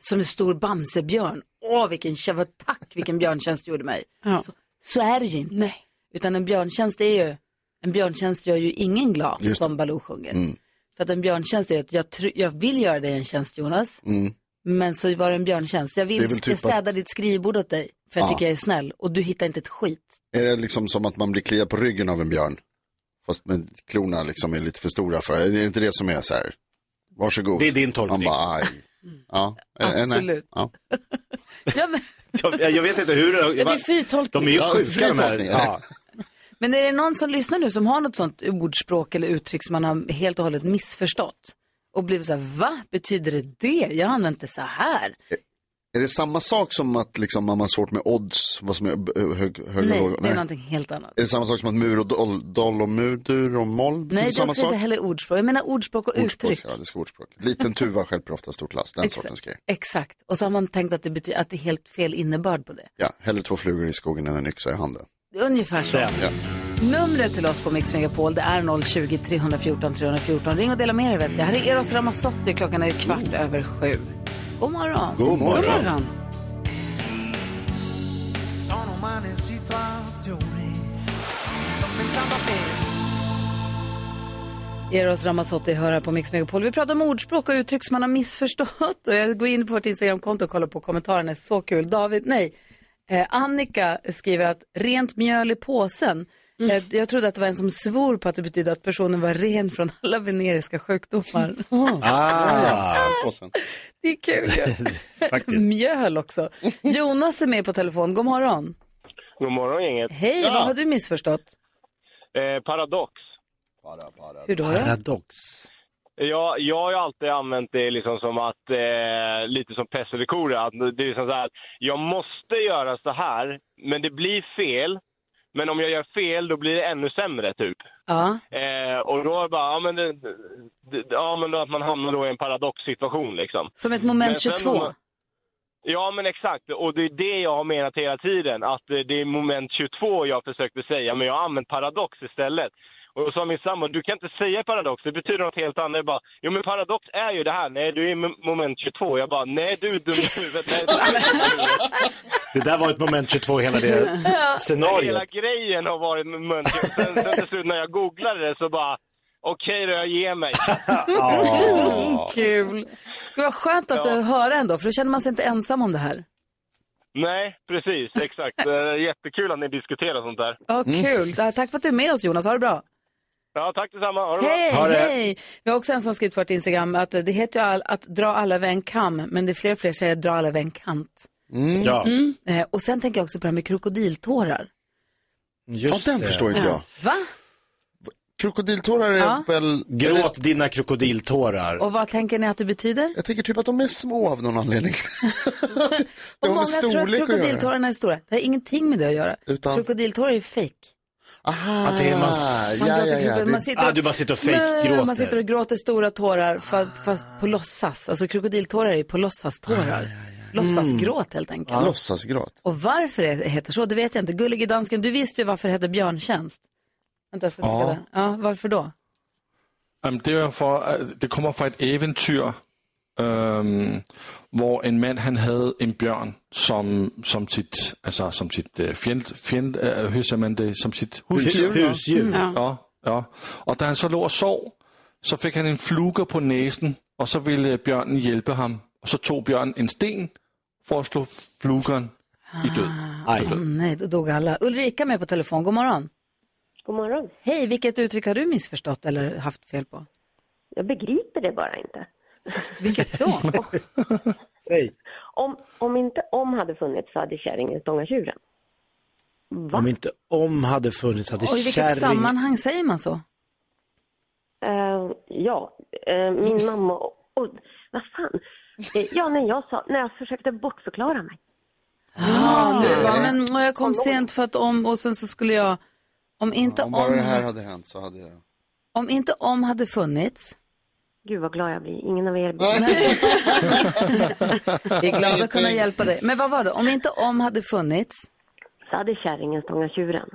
Speaker 1: som en stor bamsebjörn. Åh, vilken tjä- vad tack vilken björntjänst du gjorde mig. Så, så är det ju inte. Utan en björntjänst är ju, en björntjänst gör ju ingen glad,
Speaker 5: Just det.
Speaker 1: som Baloo sjunger.
Speaker 2: Mm,
Speaker 1: För att en björntjänst är att jag, tr- jag vill göra dig en tjänst Jonas,
Speaker 2: mm.
Speaker 1: men så var det en björntjänst. Jag
Speaker 2: Det
Speaker 1: vill
Speaker 2: är väl typ
Speaker 1: jag städa ditt skrivbord åt dig, för jag
Speaker 2: Ja.
Speaker 1: tycker jag är snäll. Och du hittar inte ett skit.
Speaker 2: Är det liksom som att man blir kliad på ryggen av en björn? Fast med klorna liksom är lite för stora för. Är det inte det som är så här? Varsågod. Det är
Speaker 6: din tolkning.
Speaker 2: Man bara, aj. Ja. Eh, eh, nej.
Speaker 1: Absolut.
Speaker 2: Ja.
Speaker 6: Jag, jag vet inte hur det...
Speaker 1: Ja, det är fri tolkning.
Speaker 6: De är ju
Speaker 1: Ja,
Speaker 6: sjuka
Speaker 1: fri
Speaker 6: de här.
Speaker 1: tolkning,
Speaker 6: Ja.
Speaker 1: Men är det någon som lyssnar nu som har något sånt ordspråk eller uttryck som man har helt och hållet missförstått? Och blivit så här, va? Betyder det det? Jag har använt det så här.
Speaker 2: Eh, Är det samma sak som att liksom man har svårt med odds? Vad som är eh, hög, hög,
Speaker 1: Nej,
Speaker 2: låg?
Speaker 1: det är någonting helt annat.
Speaker 2: Är det samma sak som att mur och doll, doll och mur, dur och moll?
Speaker 1: Nej, det är
Speaker 2: samma
Speaker 1: också inte heller ordspråk. Jag menar ordspråk och
Speaker 2: Ordspråk,
Speaker 1: uttryck.
Speaker 2: ja, det ska ordspråk. Liten tuva stjälper ofta stort last, den sortens grej.
Speaker 1: Exakt. Och så har man tänkt att det, betyder, att det är helt fel innebörd på det.
Speaker 2: Ja, hellre två flugor i skogen än en yxa i handen.
Speaker 1: Ungefär så.
Speaker 2: Ja.
Speaker 1: Numret till oss på Mix Megapol det är 020-314 314. Ring och dela med er vet jag. Här är Eros Ramazzotti, klockan är kvart över sju. God morgon.
Speaker 5: God morgon.
Speaker 1: God morgon.
Speaker 5: Sono umane situazioni. Sto pensando a te.
Speaker 1: Eros Ramazzotti hör här på Mix Megapol. Vi pratar om ordspråk och uttryck som man har missförstått. Och jag går in på vårt Instagramkonto och kollar på kommentarerna. Det är så kul. David, nej. Eh, Annika skriver att rent mjöl i påsen. Eh, jag trodde att det var en som svor på att det betydde att personen var ren från alla veneriska sjukdomar.
Speaker 6: Ah.
Speaker 1: det är kul ju. Mjöl också. Jonas är med på telefon. God morgon.
Speaker 12: God morgon gänget.
Speaker 1: Hej, vad har du missförstått?
Speaker 12: Eh, paradox.
Speaker 1: Hur då?
Speaker 6: Paradox.
Speaker 12: Ja, jag har ju alltid använt det liksom som att, eh, lite som pest eller kolera. Att Det är liksom så här, att jag måste göra så här, men det blir fel. Men om jag gör fel, då blir det ännu sämre, typ.
Speaker 1: Ja.
Speaker 12: Eh, och då är det bara, ja men, det, det, ja men då att man hamnar då i en paradoxsituation liksom.
Speaker 1: Som ett
Speaker 12: Men
Speaker 1: moment
Speaker 12: sen om
Speaker 1: 22.
Speaker 12: man- Ja, men exakt. Och det är det jag har menat hela tiden, att eh, det är moment 22 jag försökte säga, men jag har använt paradox istället. Och då sa min sambo, du kan inte säga paradox, det betyder något helt annat. Jag bara, jo men paradox är ju det här, nej du är i mom- moment 22. Jag bara, nej du är dum i huvudet, nej du är dum i huvudet.
Speaker 6: Det där var ett moment 22 hela det
Speaker 12: Hela
Speaker 6: scenariot.
Speaker 12: grejen har varit moment 22. Sen, sen till slut när jag googlade det så bara, okej då, jag ger mig.
Speaker 1: Kul. Det var skönt att du hör ändå, för då känner man sig inte ensam om det här.
Speaker 12: Nej, precis, exakt. Det är Jättekul att ni diskuterar sånt där.
Speaker 1: Ja, kul. Ja, Tack för att du är med oss Jonas, ha det bra.
Speaker 12: Ja, tack detsamma. Ha det bra.
Speaker 1: Hej, hej! Vi har också en som har skrivit på vårt Instagram att det heter ju all, att dra alla över en kam, men det är fler och fler som säger dra alla över en kant.
Speaker 2: Ja.
Speaker 1: Mm. Eh, Och sen tänker jag också på det här med krokodiltårar.
Speaker 2: ja, den förstår inte jag.
Speaker 1: Va?
Speaker 2: Krokodiltårar är
Speaker 1: Ja.
Speaker 2: väl...
Speaker 6: Gråt dina krokodiltårar.
Speaker 1: Och vad tänker ni att det betyder?
Speaker 2: Jag tänker typ att de är små av någon anledning. har
Speaker 1: Och många
Speaker 2: med
Speaker 1: tror att
Speaker 2: storlek att göra.
Speaker 1: krokodiltårarna är såra. Det har ingenting med det att göra.
Speaker 2: Utan-
Speaker 1: Krokodiltårar är fake.
Speaker 2: Aha,
Speaker 6: Att det är man...
Speaker 1: Man gråter krokodil- man sitter
Speaker 6: ah,
Speaker 1: och-
Speaker 6: du bara sitter och
Speaker 1: Nej,
Speaker 6: fejkgråter.
Speaker 1: Man sitter och gråter stora tårar fast, fast på låtsas. Alltså krokodiltårar är ju på låtsastårar. Mm. Låtsasgråt helt enkelt.
Speaker 2: Mm. Ja. Låtsasgråt.
Speaker 1: Och varför det heter så, det vet jag inte. Gullige dansken, du visste ju varför det hette björntjänst. Vänta, jag ska
Speaker 8: Ja.
Speaker 1: ja. det. Ja, varför då?
Speaker 8: Jamen, det, var for, øh, det kommer fra et eventyr, øhm, hvor en mand han havde en bjørn som, som sit, altså, som sit øh, fjend, fjend, øh, hører man det, som sit husdyr.
Speaker 6: Husdyr. Husdyr.
Speaker 8: Ja. Ja, ja. Og da han så lå og sov, så fik han en fluker på næsen, og så ville øh, bjørnen hjælpe ham. Og så tog bjørnen en sten for at slå flugeren i død. Til
Speaker 1: Åh,
Speaker 8: død.
Speaker 1: Ah, nej, då dog alla. Ulrika är med på telefon, god morgon.
Speaker 13: God morgon.
Speaker 1: Hej, vilket uttryck har du missförstått eller haft fel på?
Speaker 13: Jag begriper det bara inte.
Speaker 1: Vilket då?
Speaker 13: Om, om inte om hade funnits så hade kärringen stångat tjuren.
Speaker 6: Om inte om hade funnits hade
Speaker 1: Och i vilket
Speaker 6: kärring...
Speaker 1: sammanhang säger man så?
Speaker 13: Eh, ja, eh, min mamma och, och vad fan. Eh, ja, när jag sa, när jag försökte bortförklara mig.
Speaker 1: Ja, Ah, nu bara, men och jag kom sent för att om och sen så skulle jag, om inte
Speaker 2: Om bara det här
Speaker 1: om,
Speaker 2: hade hänt så hade jag...
Speaker 1: om inte om hade funnits.
Speaker 13: Gud vad glad jag blir, ingen av er
Speaker 1: Vi är glada att kunna hjälpa dig. Men vad var det? Om inte om hade funnits.
Speaker 13: Så hade kärringen stångat tjuren.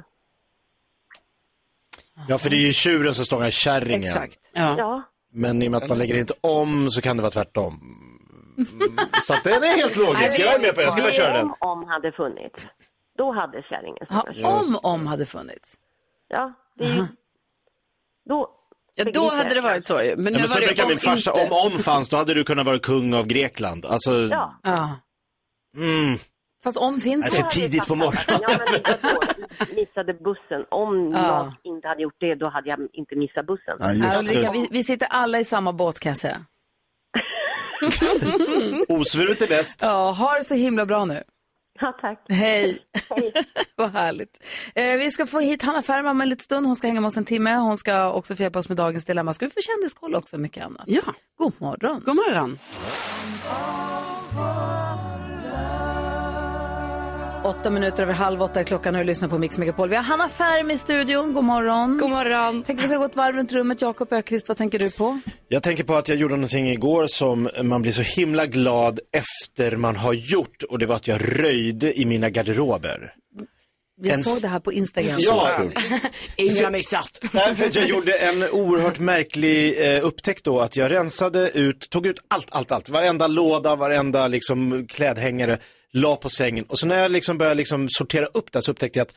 Speaker 6: Ja, för det är ju tjuren som stångar kärringen.
Speaker 13: Ja.
Speaker 6: Men i och med att man lägger inte om så kan det vara tvärtom. Mm, Så att den är helt logisk. Jag är med på det. Jag ska bara köra den.
Speaker 13: Om om hade funnits, då hade kärringen
Speaker 1: Ja,
Speaker 13: stångat tjuren.
Speaker 1: om om hade funnits.
Speaker 13: Ja, det är ju... Då...
Speaker 7: Ja, då
Speaker 13: begriper
Speaker 7: hade
Speaker 13: jag.
Speaker 7: det varit så ju. Men
Speaker 6: Nej,
Speaker 7: nu
Speaker 6: men så
Speaker 7: var det
Speaker 6: brukar min farsa, om om fanns, då hade du kunnat vara kung av Grekland. Alltså,
Speaker 13: Ja.
Speaker 1: Ja.
Speaker 6: mm.
Speaker 1: Fast om
Speaker 6: Det är
Speaker 1: finns ju.
Speaker 6: för tidigt på morgonen.
Speaker 13: missade bussen. Om
Speaker 1: Ja.
Speaker 13: jag inte hade gjort det, då hade jag inte missat bussen.
Speaker 1: Ja, Ulrika, vi, vi sitter alla i samma båt kan jag säga.
Speaker 6: Osvuret är bäst.
Speaker 1: Ja, ha det så himla bra nu.
Speaker 13: Ja, tack.
Speaker 1: Hej. Vad härligt. Eh, vi ska få hit Hanna Färm om en liten stund. Hon ska hänga med oss en timme. Hon ska också få hjälpa oss med dagens dilemma. Ska vi få kändiskoll också och mycket annat? Ja. God morgon.
Speaker 7: God morgon.
Speaker 1: 8 minuter över halv åtta är klockan och du lyssnar på Mix Megapol. Vi har Hanna Färm i studion. God morgon. God morgon. Tänker vi ska gå ett varv runt rummet. Jakob Ökvist, vad tänker du på?
Speaker 6: Jag tänker på att jag gjorde någonting igår som man blir så himla glad efter man har gjort och det var att jag röjde i mina garderober.
Speaker 1: Jag
Speaker 6: en
Speaker 1: såg det här på Instagram.
Speaker 6: Ja.
Speaker 1: Ingen har missat.
Speaker 6: Nej, för att jag gjorde en oerhört märklig eh, upptäckt då, att jag rensade ut, tog ut allt, allt, allt, varenda låda, varenda liksom, klädhängare, la på sängen. Och så när jag liksom började liksom, sortera upp det här så upptäckte jag att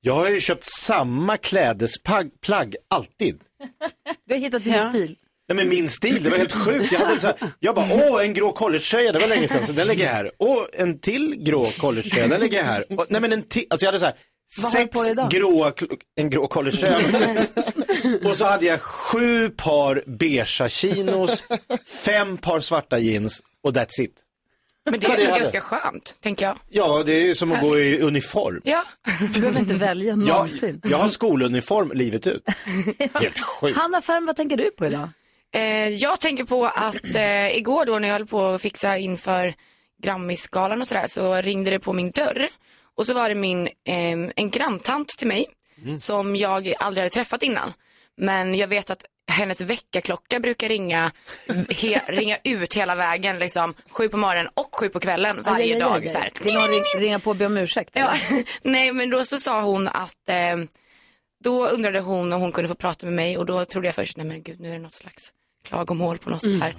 Speaker 6: jag har ju köpt samma klädesplagg alltid.
Speaker 1: Du har hittat din stil.
Speaker 6: Nej men min stil, det var helt sjukt. Jag, hade så här, jag bara, åh en grå collegetröja, det var länge sedan, så den lägger jag här. Åh, en till grå collegetröja, den lägger jag här. Och, nej men en till, alltså jag hade så här,
Speaker 1: Vad har du
Speaker 6: sex
Speaker 1: på dig idag?
Speaker 6: gråa, kl- en grå collegetröja. Och så hade jag sju par beigea chinos, fem par svarta jeans och that's it.
Speaker 14: Men det
Speaker 6: Ja,
Speaker 14: är
Speaker 6: det
Speaker 14: ju
Speaker 6: hade.
Speaker 14: ganska skönt, tänker jag.
Speaker 6: Ja, det är ju som att gå i uniform.
Speaker 14: Ja.
Speaker 1: Du behöver inte välja
Speaker 6: Jag,
Speaker 1: någonsin.
Speaker 6: jag har skoluniform livet ut. Helt sjukt.
Speaker 1: Hanna Färm, vad tänker du på idag?
Speaker 14: Eh, jag tänker på att eh, igår då när jag höll på att fixa inför Grammisgalan och sådär så ringde det på min dörr. Och så var det min, ehm, en granntant till mig
Speaker 6: Mm.
Speaker 14: som jag aldrig hade träffat innan. Men jag vet att hennes väckarklocka brukar ringa, he, ringa ut hela vägen liksom sju på morgonen och sju på kvällen varje
Speaker 1: Aj, aj, aj,
Speaker 14: dag.
Speaker 1: aj.
Speaker 14: Så här.
Speaker 1: Vill någon ring- ringa på och be om ursäkt?
Speaker 14: Ja, nej men då så sa hon att eh, då undrade hon om hon kunde få prata med mig och då trodde jag först, nej men gud nu är det något slags klagomål på något
Speaker 1: Mm.
Speaker 14: här.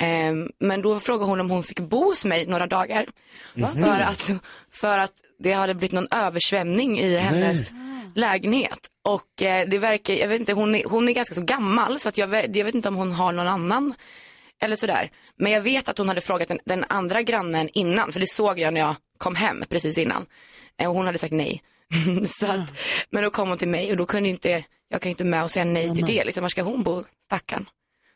Speaker 14: Eh, men då frågade hon om hon fick bo hos mig några dagar.
Speaker 1: Mhm.
Speaker 14: För, att, för att det hade blivit någon översvämning i hennes lägenhet. Och eh, det verkar, jag vet inte, hon är, hon är ganska så gammal så att jag, vä- jag vet inte om hon har någon annan eller sådär. Men jag vet att hon hade frågat den, den andra grannen innan, för det såg jag när jag kom hem precis innan. Eh, Och hon hade sagt nej. så att, men då kom hon till mig och då kunde ju inte, jag kan ju inte med och säga nej till det. Liksom, var ska hon bo, stackarn?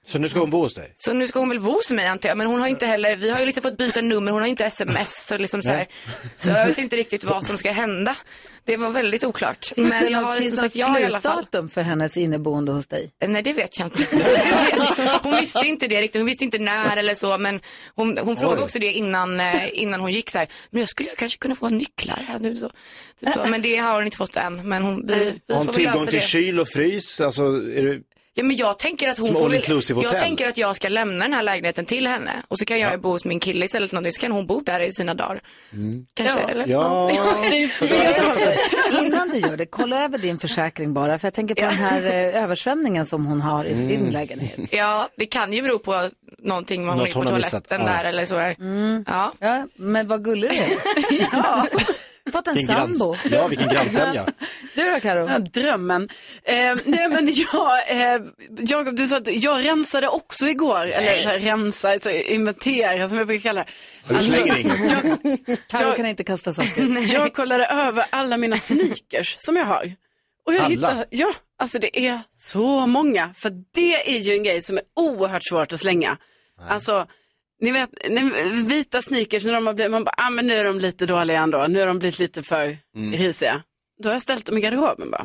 Speaker 6: Så nu ska hon bo hos dig?
Speaker 14: Så nu ska hon väl bo hos mig antar jag, men hon har ju inte heller, vi har ju liksom fått byta nummer, hon har ju inte sms och liksom så här.
Speaker 6: Nej.
Speaker 14: Så jag vet inte riktigt vad som ska hända. Det var väldigt oklart. Men jag har
Speaker 1: finns
Speaker 14: liksom
Speaker 1: det något
Speaker 14: sagt ja i alla fall.
Speaker 1: slutdatum för hennes inneboende hos dig?
Speaker 14: Eh, Nej det vet jag inte. hon visste inte det riktigt, hon visste inte när eller så men hon, hon frågade
Speaker 1: Oj.
Speaker 14: också det innan, eh, innan hon gick så här, men jag skulle kanske kunna få nycklar här nu så. Typ så. Men det har hon inte fått än. Men hon, vi, vi får
Speaker 6: Har hon
Speaker 14: väl
Speaker 6: tillgång
Speaker 14: lösa
Speaker 6: till
Speaker 14: det.
Speaker 6: kyl och frys? Alltså, är det...
Speaker 14: Ja, men jag tänker att hon
Speaker 6: Som
Speaker 14: får
Speaker 6: all
Speaker 14: väl,
Speaker 6: inclusive
Speaker 14: Jag
Speaker 6: hotell.
Speaker 14: tänker att jag ska lämna den här lägenheten till henne och så kan jag ju bo hos min kille istället eller någonting så kan hon bo där i sina dagar. Kanske,
Speaker 1: Mm. Ja.
Speaker 14: eller?
Speaker 6: Ja.
Speaker 1: Det är fel. Jag tror så. Innan du gör det, kolla över din försäkring bara. För jag tänker på den här eh, översvämningen som hon har i sin
Speaker 14: Mm.
Speaker 1: lägenhet.
Speaker 14: Ja, det kan ju bero på någonting man
Speaker 1: Något
Speaker 14: är på
Speaker 1: hon har missat.
Speaker 14: toaletten
Speaker 1: Ja.
Speaker 14: där eller så. Där. Ja.
Speaker 1: Mm. ja, men vad gullig du är. Fått en
Speaker 6: Vilken grans-
Speaker 1: sambo.
Speaker 6: Ja, vilken grannsämja.
Speaker 1: Du då Karo?
Speaker 7: Ja, drömmen. Eh, nej men jag, eh, Jakob du sa att jag rensade också igår, eller så här, rensa, alltså, inventera som jag brukar kalla det. Alltså,
Speaker 1: Du slänger inget.
Speaker 7: jag,
Speaker 1: Karo kan inte kasta saker.
Speaker 7: Nej. Jag kollade över alla mina sneakers som jag har. Och jag
Speaker 1: Alla?
Speaker 7: hittar, ja, alltså det är så många. För det är ju en grej som är oerhört svårt att slänga. Alltså, ni vet, ni, vita sneakers, när de har blivit, man bara, ah, men nu är de lite dåliga ändå, nu har de blivit lite för risiga. Då har jag ställt dem i garderoben bara.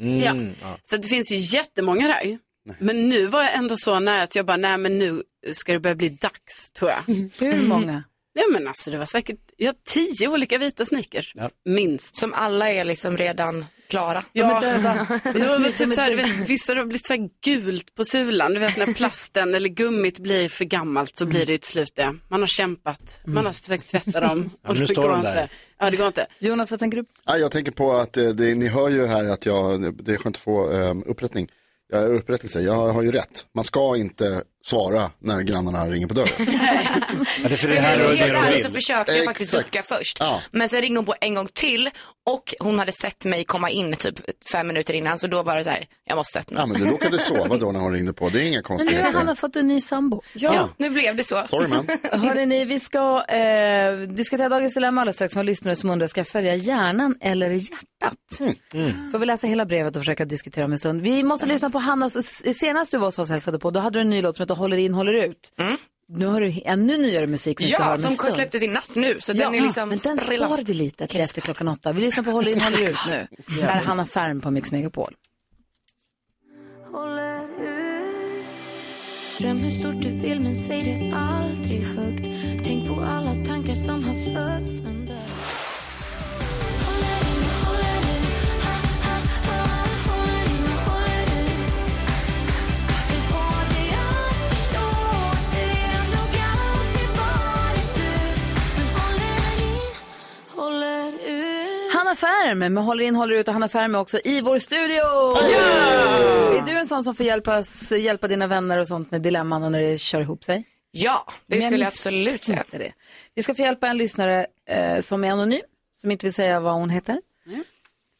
Speaker 5: Mm, ja.
Speaker 7: Så det finns ju jättemånga där. Men nu var jag ändå så nära att jag bara, nej men nu ska det börja bli dags, tror jag.
Speaker 1: Hur många?
Speaker 7: Nej men alltså det var säkert, jag har tio olika vita sneakers, minst.
Speaker 14: Som alla är liksom redan klara.
Speaker 7: Ja,
Speaker 14: De är döda.
Speaker 7: det var väl
Speaker 14: De är
Speaker 7: typ så här, du
Speaker 14: döda.
Speaker 7: vet, vissa har blivit så här gult på sulan, du vet när plasten eller gummit blir för gammalt så blir det ju till slut det. Man har kämpat, man har försökt tvätta dem.
Speaker 2: Ja, men nu
Speaker 7: det
Speaker 2: står de
Speaker 7: går
Speaker 2: där.
Speaker 7: Inte. Ja, det går inte.
Speaker 1: Jonas, vad tänker du?
Speaker 2: Ja, jag tänker på att eh, det, ni hör ju här att jag, det är skönt att få eh, upprättning. Ja, upprättelse, jag har ju rätt. Man ska inte svara när grannarna ringer på dörren. ja, det är för
Speaker 14: Men helt ärligt så försökte jag faktiskt
Speaker 2: Exakt.
Speaker 14: ducka först.
Speaker 2: Ja.
Speaker 14: Men sen ringde hon på en gång till och hon hade sett mig komma in typ fem minuter innan så då var det så här, jag måste öppna.
Speaker 2: Ja, men du råkade sova då när hon ringde på, det är inga
Speaker 1: Men nu har
Speaker 2: konstigheter.
Speaker 1: Hanna fått en ny sambo.
Speaker 14: Ja, nu blev det så.
Speaker 2: Sorry man.
Speaker 1: Hörrni, ni, vi ska eh, diskutera dagens dilemma alldeles strax med lyssnare som undrar, ska jag följa hjärnan eller hjärtat?
Speaker 14: Mm.
Speaker 1: Får vi läsa hela brevet och försöka diskutera om en stund. Vi måste lyssna på Hannas, senast du var hos oss och hälsade på, då hade du en ny låt som heter Håller in, håller ut. Nu har du ännu nyare musik vi ska höra
Speaker 14: Mm. Ja,
Speaker 1: om
Speaker 14: som
Speaker 1: en stund.
Speaker 14: släpptes i natt nu så den är
Speaker 1: Ja,
Speaker 14: liksom
Speaker 1: men den
Speaker 14: sprillans-
Speaker 1: spar vi lite till efter klockan åtta. Vi lyssnar på Håller in, håller ut nu. Där är Hanna Färm på Mix Megapol.
Speaker 5: Dröm hur stort du vill men säg det aldrig högt Tänk på alla tankar som har fötts men dött
Speaker 1: Hanna Färm med Håller in, håller ut och Hanna Färm är också i vår studio. Är du en sån som får hjälpas, hjälpa dina vänner och sånt med dilemman och när det kör ihop sig?
Speaker 14: Ja, det
Speaker 1: Men
Speaker 14: skulle jag
Speaker 1: misstänker
Speaker 14: absolut säga.
Speaker 1: inte Det. Vi ska få hjälpa en lyssnare eh, som är anonym, som inte vill säga vad hon heter.
Speaker 14: Mm.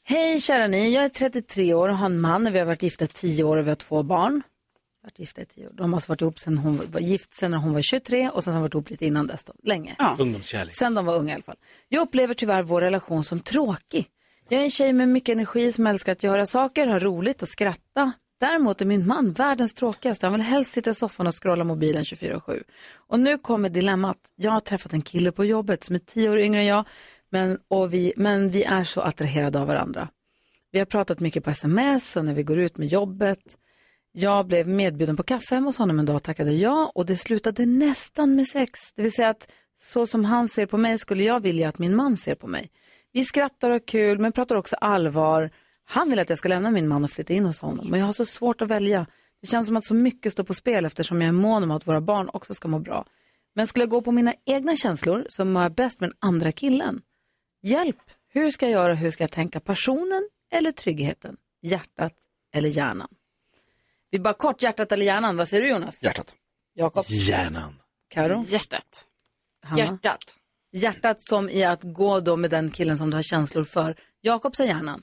Speaker 1: Hej kära ni, jag är 33 år och har en man och vi har varit gifta i 10 år och vi har två barn. Varit gifta i 10 år. De har alltså varit ihop sen hon var- var gift, sen när hon var 23 och sen har de varit ihop lite innan dess då, länge.
Speaker 6: Ungdomskärlek.
Speaker 1: Sen de var unga i alla fall. Jag upplever tyvärr vår relation som tråkig. Jag är en tjej med mycket energi som älskar att göra saker, ha roligt och skratta. Däremot är min man världens tråkigaste. Han vill helst sitta i soffan och scrolla mobilen 24-7. Och nu kommer dilemmat. Jag har träffat en kille på jobbet som är tio år yngre än jag, men, och vi, men vi är så attraherade av varandra. Vi har pratat mycket på sms och när vi går ut med jobbet. Jag blev medbjuden på kaffe hemma hos honom en dag och tackade ja och det slutade nästan med sex. Det vill säga att så som han ser på mig skulle jag vilja att min man ser på mig. Vi skrattar och har kul men pratar också allvar. Han vill att jag ska lämna min man och flytta in hos honom men jag har så svårt att välja. Det känns som att så mycket står på spel eftersom jag är mån om att våra barn också ska må bra. Men skulle jag gå på mina egna känslor så mår jag bäst med den andra killen. Hjälp! Hur ska jag göra? Hur ska jag tänka? Passionen eller tryggheten? Hjärtat eller hjärnan? Vi bara kort, hjärtat eller hjärnan? Vad säger du Jonas?
Speaker 2: Hjärtat.
Speaker 1: Jakob?
Speaker 6: Hjärnan.
Speaker 1: Karo?
Speaker 7: Hjärtat.
Speaker 1: Hanna?
Speaker 14: Hjärtat.
Speaker 1: Hjärtat som i att gå då med den killen som du har känslor för. Jakob säger hjärnan.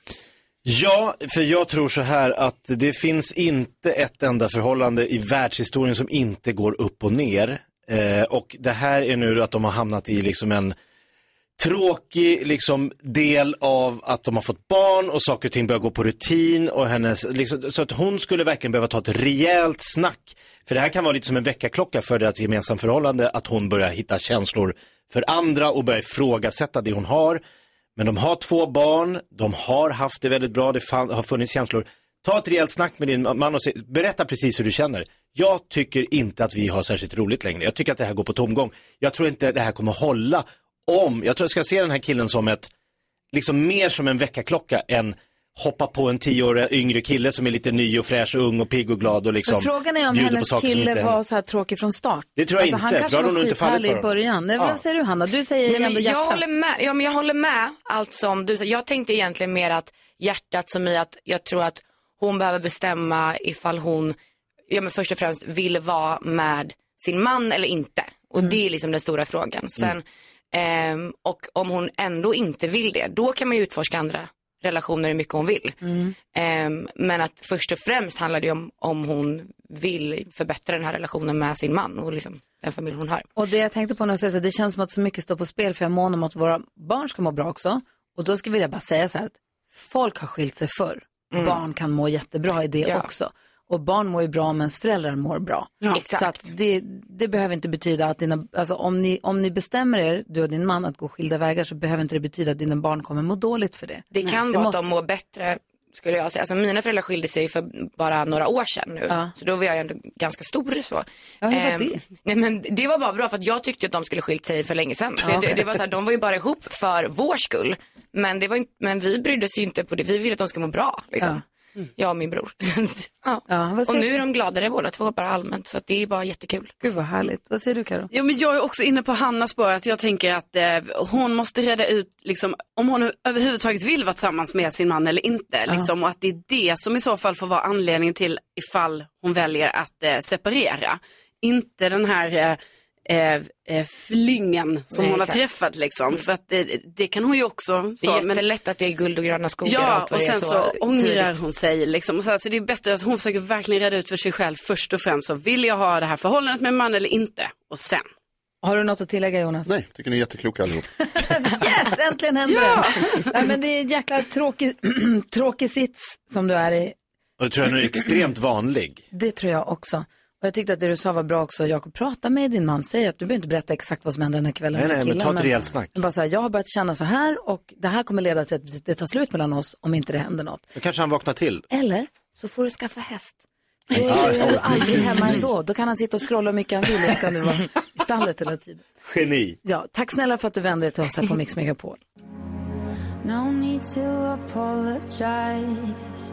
Speaker 6: Ja, för jag tror så här att det finns inte ett enda förhållande i världshistorien som inte går upp och ner. Eh, och det här är nu att de har hamnat i liksom en tråkig liksom, del av att de har fått barn och saker och ting börjar gå på rutin. Och hennes, liksom, så att hon skulle verkligen behöva ta ett rejält snack. För det här kan vara lite som en väckarklocka för deras gemensamma förhållande, att hon börjar hitta känslor för andra och börjar ifrågasätta det hon har. Men de har två barn, de har haft det väldigt bra, det fan, har funnits känslor. Ta ett rejält snack med din man och se, berätta precis hur du känner. Jag tycker inte att vi har särskilt roligt längre. Jag tycker att det här går på tomgång. Jag tror inte det här kommer hålla om, jag tror jag ska se den här killen som ett, liksom mer som en väckarklocka än hoppa på en tio år yngre kille som är lite ny och fräsch och ung och pigg och glad och liksom
Speaker 1: Men frågan är om
Speaker 6: bjuder på
Speaker 1: hennes
Speaker 6: saker som inte
Speaker 1: kille
Speaker 6: händer.
Speaker 1: var så här tråkig från start.
Speaker 6: Det tror jag
Speaker 1: alltså,
Speaker 6: inte,
Speaker 1: Han
Speaker 6: för då
Speaker 1: kanske
Speaker 6: hade
Speaker 1: var
Speaker 6: hon inte fallit
Speaker 1: skithärlig
Speaker 6: för
Speaker 1: i
Speaker 6: honom.
Speaker 1: början. Nej,
Speaker 6: Ja.
Speaker 1: Vad säger du Hanna? Du säger
Speaker 14: Nej,
Speaker 1: ändå
Speaker 14: men jag,
Speaker 1: hjärtat.
Speaker 14: håller med, ja, men jag håller med allt som du sa. Jag tänkte egentligen mer att hjärtat som i att jag tror att hon behöver bestämma ifall hon ja, men först och främst vill vara med sin man eller inte. Och
Speaker 1: Mm.
Speaker 14: det är liksom den stora frågan. Sen, ehm, och om hon ändå inte vill det, då kan man ju utforska andra relationer hur mycket hon vill.
Speaker 1: Mm.
Speaker 14: Ehm, men att först och främst handlar det ju om om hon vill förbättra den här relationen med sin man och liksom den familj hon har.
Speaker 1: Och det jag tänkte på när jag säger så här, det känns som att så mycket står på spel för jag är mån om att våra barn ska må bra också. Och då skulle jag vilja bara säga så här att folk har skilt sig förr.
Speaker 14: Mm.
Speaker 1: Barn kan må jättebra i det
Speaker 14: Ja.
Speaker 1: också. Och barn mår ju bra om ens föräldrar mår bra.
Speaker 14: Ja.
Speaker 1: Så att det, det behöver inte betyda att dina, alltså om ni, om ni bestämmer er, du och din man, att gå skilda vägar så behöver inte det betyda att dina barn kommer må dåligt för det.
Speaker 14: Det kan
Speaker 1: Det
Speaker 14: vara
Speaker 1: måste-
Speaker 14: att de mår bättre skulle jag säga. Alltså mina föräldrar skilde sig för bara några år sedan nu.
Speaker 1: Ja.
Speaker 14: Så då var jag ändå ganska stor så.
Speaker 1: Ja, hur var
Speaker 14: Ehm,
Speaker 1: det?
Speaker 14: Nej men det var bara bra för att jag tyckte att de skulle skilt sig för länge sedan. För
Speaker 1: Ja.
Speaker 14: det, det var så här, de var ju bara ihop för vår skull. Men, det var inte, men vi brydde oss ju inte på det. Vi ville att de skulle må bra liksom. Jag och min bror. ja.
Speaker 1: vad
Speaker 14: och
Speaker 1: säger-
Speaker 14: nu är de gladare båda två bara allmänt. Så att det är bara jättekul.
Speaker 1: Gud vad härligt. Vad säger du Karo?
Speaker 7: Jo, men jag är också inne på Hannas spår att jag tänker att eh, hon måste reda ut liksom, om hon överhuvudtaget vill vara tillsammans med sin man eller inte.
Speaker 1: Ja.
Speaker 7: Liksom, och att det är det som i så fall får vara anledningen till ifall hon väljer att eh, separera. Inte den här eh, eh, eh, flingen som
Speaker 14: Nej,
Speaker 7: hon har
Speaker 14: exakt.
Speaker 7: träffat. Liksom, för att det, det kan hon ju också.
Speaker 14: Det är jättelätt att det är guld och gröna skogar och
Speaker 7: Ja,
Speaker 14: allt vad
Speaker 7: och
Speaker 14: det är
Speaker 7: sen så,
Speaker 14: så
Speaker 7: ångrar
Speaker 14: tidigt.
Speaker 7: hon sig. Liksom. Och så, här, så det är bättre att hon försöker verkligen reda ut för sig själv först och främst. Så vill jag ha det här förhållandet med min man eller inte? Och sen.
Speaker 1: Har du något att tillägga Jonas?
Speaker 2: Nej, tycker ni är jättekloka allihop.
Speaker 1: Yes, äntligen händer det. Nej, men det är en jäkla tråkig, tråkig sits som du är i.
Speaker 6: Och det tror jag nu är extremt vanlig.
Speaker 1: Det tror jag också. Och jag tyckte att det du sa var bra också, Jakob. Prata med din man, säg att du behöver inte berätta exakt vad som hände den här kvällen
Speaker 6: Nej,
Speaker 1: med
Speaker 6: nej, men
Speaker 1: killen,
Speaker 6: ta ett rejält snack.
Speaker 1: Men bara så här, jag har börjat känna så här och det här kommer leda till att det tar slut mellan oss om inte det händer något.
Speaker 6: Då kanske han vaknar till.
Speaker 1: Eller så får du skaffa häst. Då är du aldrig hemma ändå. Då kan han sitta och scrolla hur mycket han vill och ska nu vara i stallet hela tiden.
Speaker 6: Geni.
Speaker 1: Ja, tack snälla för att du vände dig till oss här på Mix Megapol.
Speaker 5: No need to apologize. 'Cause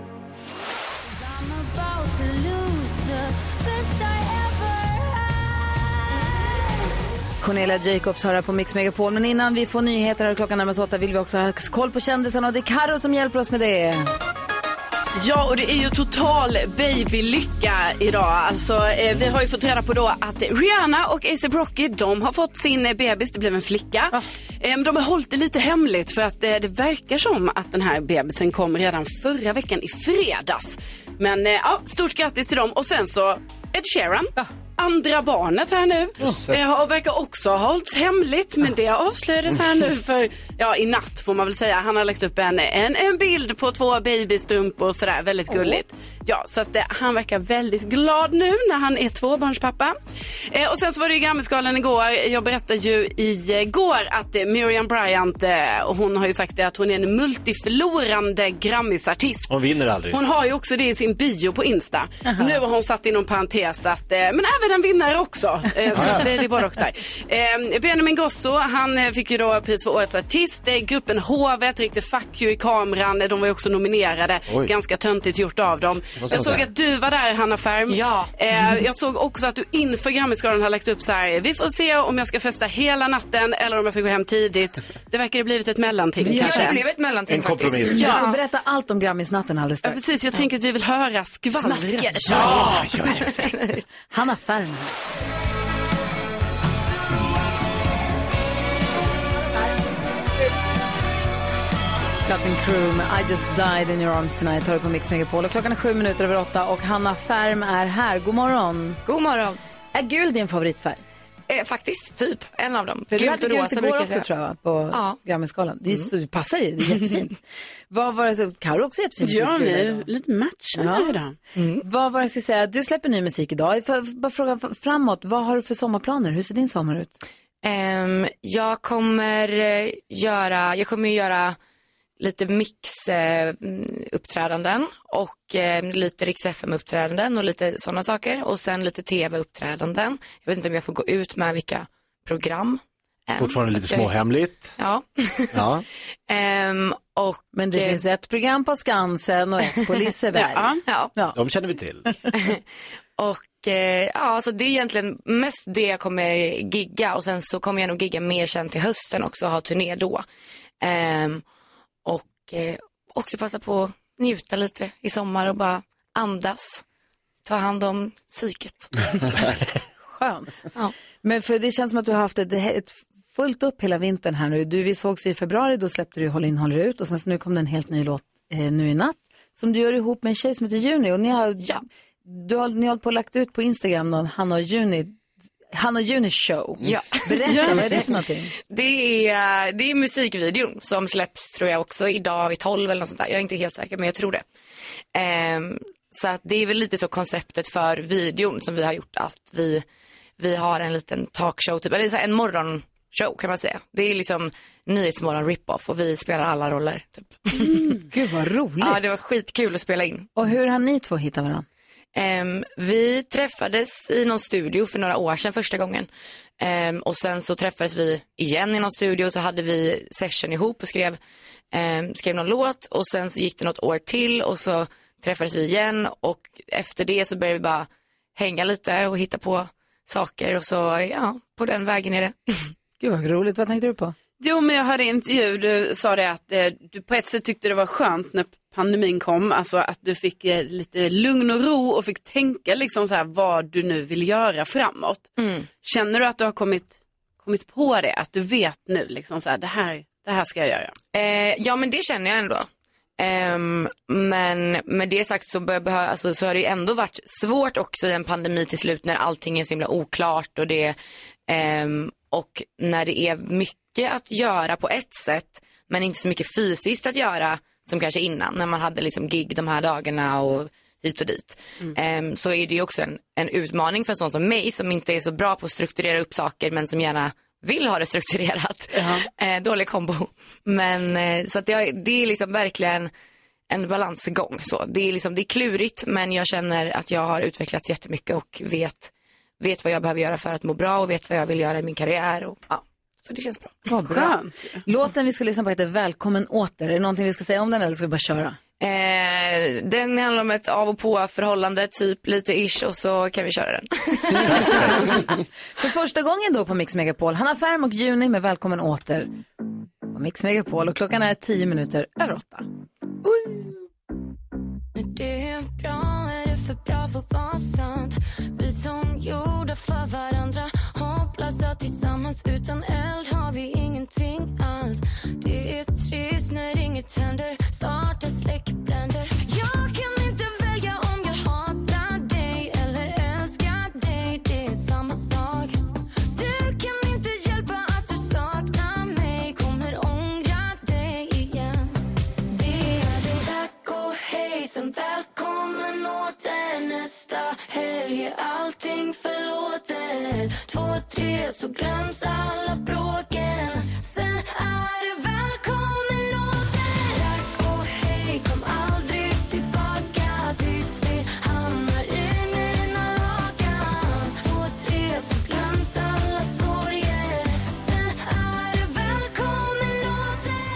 Speaker 5: I'm about to lose the best I ever had.
Speaker 1: Cornelia Jacobs hör här på Mix Megapol. Men innan vi får nyheter här klockan närmast åtta vill vi också ha koll på kändisarna och det är Karo som hjälper oss med det.
Speaker 7: Ja, och det är ju total babylycka idag. Alltså, eh, vi har ju fått reda på då att Rihanna och A$AP Rocky, de har fått sin eh, bebis, det blev en flicka. Eh, men de har hållit det lite hemligt för att eh, det verkar som att den här bebisen kom redan förra veckan i fredags. Men eh, ja, stort grattis till dem. Och sen så Ed Sheeran. Andra barnet här nu.
Speaker 1: Jösses.
Speaker 7: Eh, och verkar också ha hållits hemligt men det avslöjades här nu för, ja i natt får man väl säga. Han har lagt upp en, en, en bild på två babystrumpor och sådär, väldigt
Speaker 1: Åh.
Speaker 7: gulligt. Ja, så att eh, han verkar väldigt glad nu när han är tvåbarnspappa. Eh, och sen så var det ju Grammisgalan igår. Jag berättade ju igår att eh, Miriam Bryant, eh, hon har ju sagt det, att hon är en multiförlorande Grammisartist.
Speaker 6: Hon vinner aldrig.
Speaker 7: Hon har ju också det i sin bio på Insta. Nu har hon satt inom parentes att, eh, men även en vinnare också. Eh, så att, eh, det är bara och där. Eh, Benjamin Gosso, han eh, fick ju då pris för Årets artist. Eh, gruppen Hovet, riktigt fuck you i kameran. Eh, De var ju också nominerade.
Speaker 15: Oj.
Speaker 7: Ganska töntigt gjort av dem.
Speaker 15: Vad ska
Speaker 7: Jag
Speaker 15: man
Speaker 7: såg
Speaker 15: säga?
Speaker 7: att du var där, Hanna Färm. Ja. Eh, jag såg också att du inför Grammisgalan har lagt upp så här. Vi får se om jag ska festa hela natten eller om jag ska gå hem tidigt. Det verkar ha blivit ett mellanting
Speaker 14: Ja,
Speaker 7: kanske.
Speaker 14: det blev ett mellanting En
Speaker 1: faktiskt.
Speaker 14: kompromiss.
Speaker 1: Ja.
Speaker 7: Ja.
Speaker 1: Du får berätta allt om Grammisnatten alldeles
Speaker 7: Ja,
Speaker 1: strax.
Speaker 7: precis. Jag tänker att vi vill höra skvallret.
Speaker 1: Smaskigt.
Speaker 7: Ja,
Speaker 1: ja, Hanna Ferm. Cutting Crew med I just died in your arms tonight hör du på Mix Megapol. Och klockan är sju minuter över åtta och Hanna Färm är här. God morgon.
Speaker 14: God morgon.
Speaker 1: Är gul din favoritfärg?
Speaker 14: Eh, faktiskt, typ. En av dem.
Speaker 1: För du
Speaker 14: Gult
Speaker 1: hade
Speaker 14: och
Speaker 1: gult
Speaker 14: rosa
Speaker 1: igår
Speaker 14: brukar
Speaker 1: också tror jag va? på
Speaker 14: Ja.
Speaker 1: Grammisgalan. Det är
Speaker 14: Mm.
Speaker 1: så- det passar ju, det är jättefint. Vad var det så, Karo också jättefint.
Speaker 7: Ja,
Speaker 1: sitt gula
Speaker 7: ni
Speaker 1: idag.
Speaker 7: är lite matchande
Speaker 1: Ja.
Speaker 7: idag.
Speaker 1: Vad var det jag skulle säga? Du släpper ny musik idag. Får jag bara fråga f- framåt, vad har du för sommarplaner? Hur ser din sommar ut?
Speaker 14: Ehm, jag kommer eh, göra, jag kommer ju göra lite mix-uppträdanden och eh, lite Rix FM-uppträdanden och lite sådana saker och sen lite tv-uppträdanden. Jag vet inte om jag får gå ut med vilka program. än,
Speaker 6: Fortfarande
Speaker 14: så
Speaker 6: lite
Speaker 14: att jag-
Speaker 6: småhemligt.
Speaker 14: Ja.
Speaker 6: Ja.
Speaker 14: Ehm, och,
Speaker 1: Men det
Speaker 14: eh,
Speaker 1: finns ett program på Skansen och ett på Liseberg.
Speaker 14: ja.
Speaker 6: De känner vi till.
Speaker 14: Och eh, ja, så det är egentligen mest det jag kommer gigga och sen så kommer jag nog gigga mer sen till hösten också och ha turné då. Ehm, och eh, också passa på att njuta lite i sommar och bara andas. Ta hand om psyket.
Speaker 1: Skönt. Men för det känns som att du har haft ett, ett fullt upp hela vintern här nu. Du, vi sågs ju i februari, då släppte du Håll in, håller ut och sen så nu kom det en helt ny låt eh, nu i natt som du gör ihop med en tjej som heter Juni och ni har, du har, ni har hållit på och lagt ut på Instagram någon Hanna och Juni, Hanna och Juni show.
Speaker 14: Ja.
Speaker 1: Berätta, vad är det för någonting?
Speaker 14: Det är, det är musikvideon som släpps tror jag också idag vid 12 eller något sånt där. Jag är inte helt säker men jag tror det. Ehm, så att det är väl lite så konceptet för videon som vi har gjort att vi, vi har en liten talkshow, typ, eller så här en morgonshow kan man säga. Det är liksom Nyhetsmorgon rip-off och vi spelar alla roller. Typ.
Speaker 1: Mm. Gud vad roligt.
Speaker 14: Ja, det var skitkul att spela in.
Speaker 1: Och hur har ni två hittat varandra?
Speaker 14: Ehm, vi träffades i någon studio för några år sedan första gången. Ehm, och sen så träffades vi igen i någon studio så hade vi session ihop och skrev, ehm, skrev någon låt. Och sen så gick det något år till och så träffades vi igen och efter det så började vi bara hänga lite och hitta på saker och så ja, på den vägen är det.
Speaker 1: Gud vad roligt, vad tänkte du på?
Speaker 7: Jo, men jag hörde i intervju, du sa det att eh, du på ett sätt tyckte det var skönt när pandemin kom, alltså att du fick eh, lite lugn och ro och fick tänka liksom så här vad du nu vill göra framåt. Känner du att du har kommit, kommit på det, att du vet nu liksom så här, det här, det här ska jag göra?
Speaker 14: Eh, ja men det känner jag ändå. Ehm, men med det sagt så, bör, behö- alltså, så har det ju ändå varit svårt också i en pandemi till slut när allting är så himla oklart och det ehm, och när det är mycket att göra på ett sätt men inte så mycket fysiskt att göra som kanske innan när man hade liksom gig de här dagarna och hit och dit. Ehm, så är det ju också en, en utmaning för en sån som mig som inte är så bra på att strukturera upp saker men som gärna vill ha det strukturerat. Eh, dålig kombo. Men eh, så att det, har- det är liksom verkligen en balansgång. Så. Det, är liksom, det är klurigt men jag känner att jag har utvecklats jättemycket och vet, vet vad jag behöver göra för att må bra och vet vad jag vill göra i min karriär. Och, ja. Så det känns bra.
Speaker 1: Vad bra. Låten vi ska lyssna på heter Välkommen åter. Är det någonting vi ska säga om den eller ska vi bara köra?
Speaker 14: Eh, den handlar om ett av och på-förhållande, typ lite ish, och så kan vi köra den.
Speaker 1: För första gången då på Mix Megapol, Hanna Färm och Juni med Välkommen åter på Mix Megapol och klockan är tio minuter över åtta.
Speaker 5: När det är bra är det för bra för att vara sant Vi som gjorda för varandra Hopplösa tillsammans Utan eld har vi ingenting alls Det är trist när inget händer Starta släckbränder Jag kan inte välja om jag hatar dig eller älskar dig Det är samma sak Du kan inte hjälpa att du saknar mig Kommer ångra dig igen det är det tack och hej sen välkommen åter nästa helg är allting förlåtet Två, tre så glöms alla bråken Sen är det välkommen åter Tack och hej kom aldrig tillbaka tills vi hamnar i mina lakan Två, tre så glöms alla sorger Sen är det välkommen åter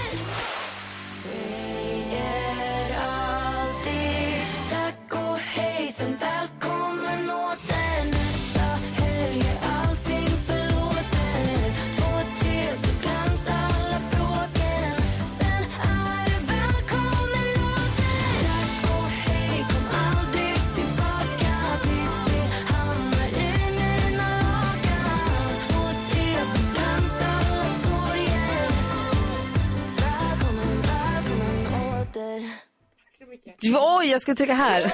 Speaker 5: säger er alltid tack och hej sen välkommen åter nästa helg er är allting förlåtet Två, tre så glöms alla bråken Sen är det välkommen åter Tack och hej, kom aldrig tillbaka tills vi hamnar i mina lakan Två, tre så glöms alla sorger Välkommen, välkommen åter
Speaker 1: Oj, jag skulle trycka här.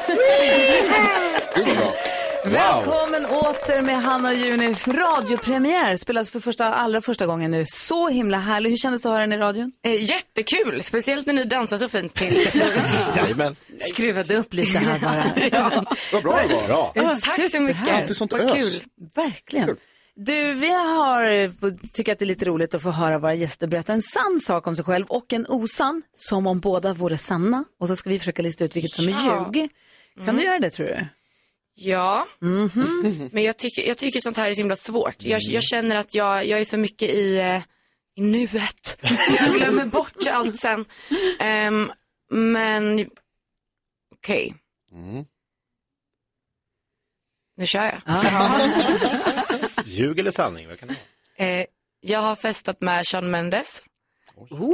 Speaker 1: Välkommen åter med Hanna och Juni. Radiopremiär spelas för första, allra första gången nu. Så himla härlig. Hur kändes det att höra den i radion?
Speaker 14: Eh, jättekul, speciellt när ni dansar så fint till.
Speaker 6: Jajamän.
Speaker 1: Skruvade upp lite här bara.
Speaker 2: Vad bra det var.
Speaker 1: Ja,
Speaker 14: Tack så mycket.
Speaker 1: superhärligt. Vad kul. Verkligen. Du, vi har, tycker att det är lite roligt att få höra våra gäster berätta en sann sak om sig själv och en osann, som om båda vore sanna. Och så ska vi försöka lista ut vilket som är
Speaker 14: Ja.
Speaker 1: ljug. Kan
Speaker 14: Mm.
Speaker 1: du göra det tror du?
Speaker 14: Ja,
Speaker 1: Mhm.
Speaker 14: men jag tycker, jag tycker sånt här är så himla svårt. Jag, jag känner att jag, jag är så mycket i, eh, i nuet. Så jag glömmer bort allt sen. Ehm, men okej,
Speaker 2: Mm.
Speaker 14: nu kör jag.
Speaker 6: Ljug eller sanning? Vad kan det
Speaker 14: Eh, jag har festat med Sean Mendes.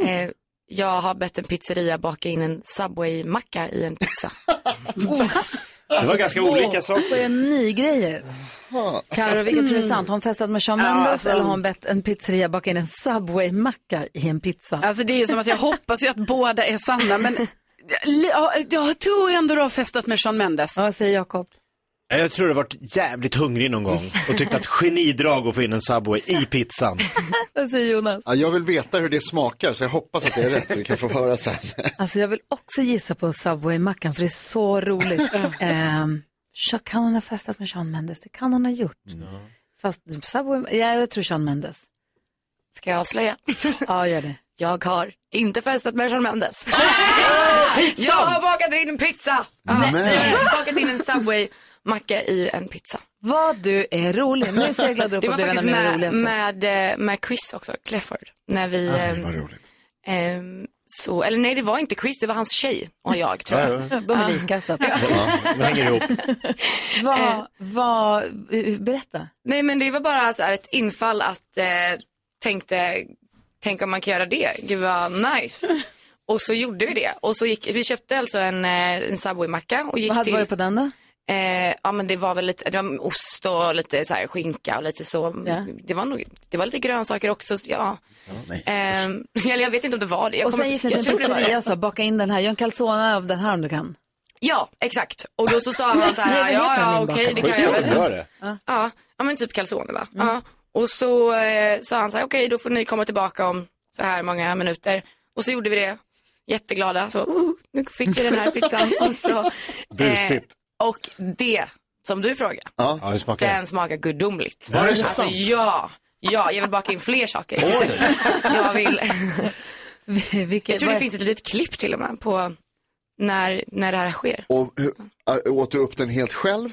Speaker 14: Eh, jag har bett en pizzeria baka in en Subway-macka i en pizza.
Speaker 6: vara? Det var ganska olika
Speaker 1: Två
Speaker 6: saker.
Speaker 1: geni-grejer. Carro, vilket tror du är sant? Har hon festat med Shawn
Speaker 7: Ja,
Speaker 1: Mendes
Speaker 7: alltså-
Speaker 1: eller har hon bett en pizzeria baka in en Subway-macka i en pizza?
Speaker 7: Alltså det är ju som att jag hoppas ju att båda är sanna men ja, jag tror ändå du har festat med Sean Mendes.
Speaker 1: Ja, vad säger Jakob?
Speaker 6: Ja, Jag tror du har varit jävligt hungrig någon gång och tyckt att genidrag att få in en Subway i pizzan.
Speaker 1: Vad säger Jonas?
Speaker 2: Ja, jag vill veta hur det smakar så jag hoppas att det är rätt så vi kan få höra sen.
Speaker 1: Alltså jag vill också gissa på Subway-mackan för det är så roligt. Ehm, så kan hon ha festat med Shawn Mendes? Det kan hon ha gjort. Fast Subway, ja, jag tror Shawn Mendes.
Speaker 14: Ska jag avslöja?
Speaker 1: Ja, gör det.
Speaker 14: Jag har inte festat med Sean Mendes. jag har bakat in en pizza. Ja, Jag har bakat in en Subway-macka i en pizza.
Speaker 1: Vad du är rolig. Nu ser jag glad upp
Speaker 14: Det
Speaker 1: och
Speaker 14: var
Speaker 1: blev en av
Speaker 14: faktiskt
Speaker 1: mina
Speaker 14: med,
Speaker 1: roligaste.
Speaker 14: med, eh, med Chris också, Clifford. När vi...
Speaker 1: Ah,
Speaker 14: ehm, ehm, så, eller nej, det var inte Chris, det var hans tjej och jag tror jag.
Speaker 1: Ja, De är lika så att...
Speaker 6: Det hänger ihop.
Speaker 1: Vad, vad, berätta.
Speaker 14: Eh. Nej men det var bara så här ett infall att eh, tänkte, tänk om man kan göra det, gud vad nice. Och så gjorde vi det. Och så gick, vi köpte alltså en, eh, en Subway-macka och gick
Speaker 1: Vad hade
Speaker 14: till.
Speaker 1: varit på den då?
Speaker 14: Eh, ja men det var väl lite, det var ost och lite så här skinka och lite så.
Speaker 1: Ja.
Speaker 14: Det, var nog, det var lite grönsaker också, så ja. Ehm, eller jag vet inte om det var det. Jag
Speaker 1: och sen
Speaker 14: kommer-
Speaker 1: gick ni
Speaker 14: jag
Speaker 1: till en
Speaker 14: tror det var det.
Speaker 1: pizzeria och sa, baka in den här, gör en calzone av den här om du kan.
Speaker 14: Ja, exakt. Och då så sa man så
Speaker 1: Nej,
Speaker 14: här,
Speaker 1: vad
Speaker 14: ja,
Speaker 1: heter den
Speaker 14: ja
Speaker 1: inbakade?
Speaker 14: okej, det
Speaker 1: Vad
Speaker 14: kan jag
Speaker 1: heter den?
Speaker 14: väl.
Speaker 1: Gör det.
Speaker 14: Ja. Ja, men typ calzone va?
Speaker 1: Mm.
Speaker 14: Ja. Och så eh, sa han så här, okej, då får ni komma tillbaka om så här många minuter. Och så gjorde vi det, jätteglada, så oh, nu fick vi den här pizzan. och så,
Speaker 6: Busigt.
Speaker 14: och det som du frågar,
Speaker 6: Ja, hur smakar det?
Speaker 14: den smakar gudomligt.
Speaker 6: Var det
Speaker 14: alltså,
Speaker 6: sant?
Speaker 14: ja, ja, jag vill baka in fler saker. Jag vill.
Speaker 1: Vilket,
Speaker 14: Jag tror det
Speaker 1: vad-
Speaker 14: finns ett litet klipp till och med på när, när det här sker.
Speaker 2: äh, Och hur, ä, åt du upp den helt själv?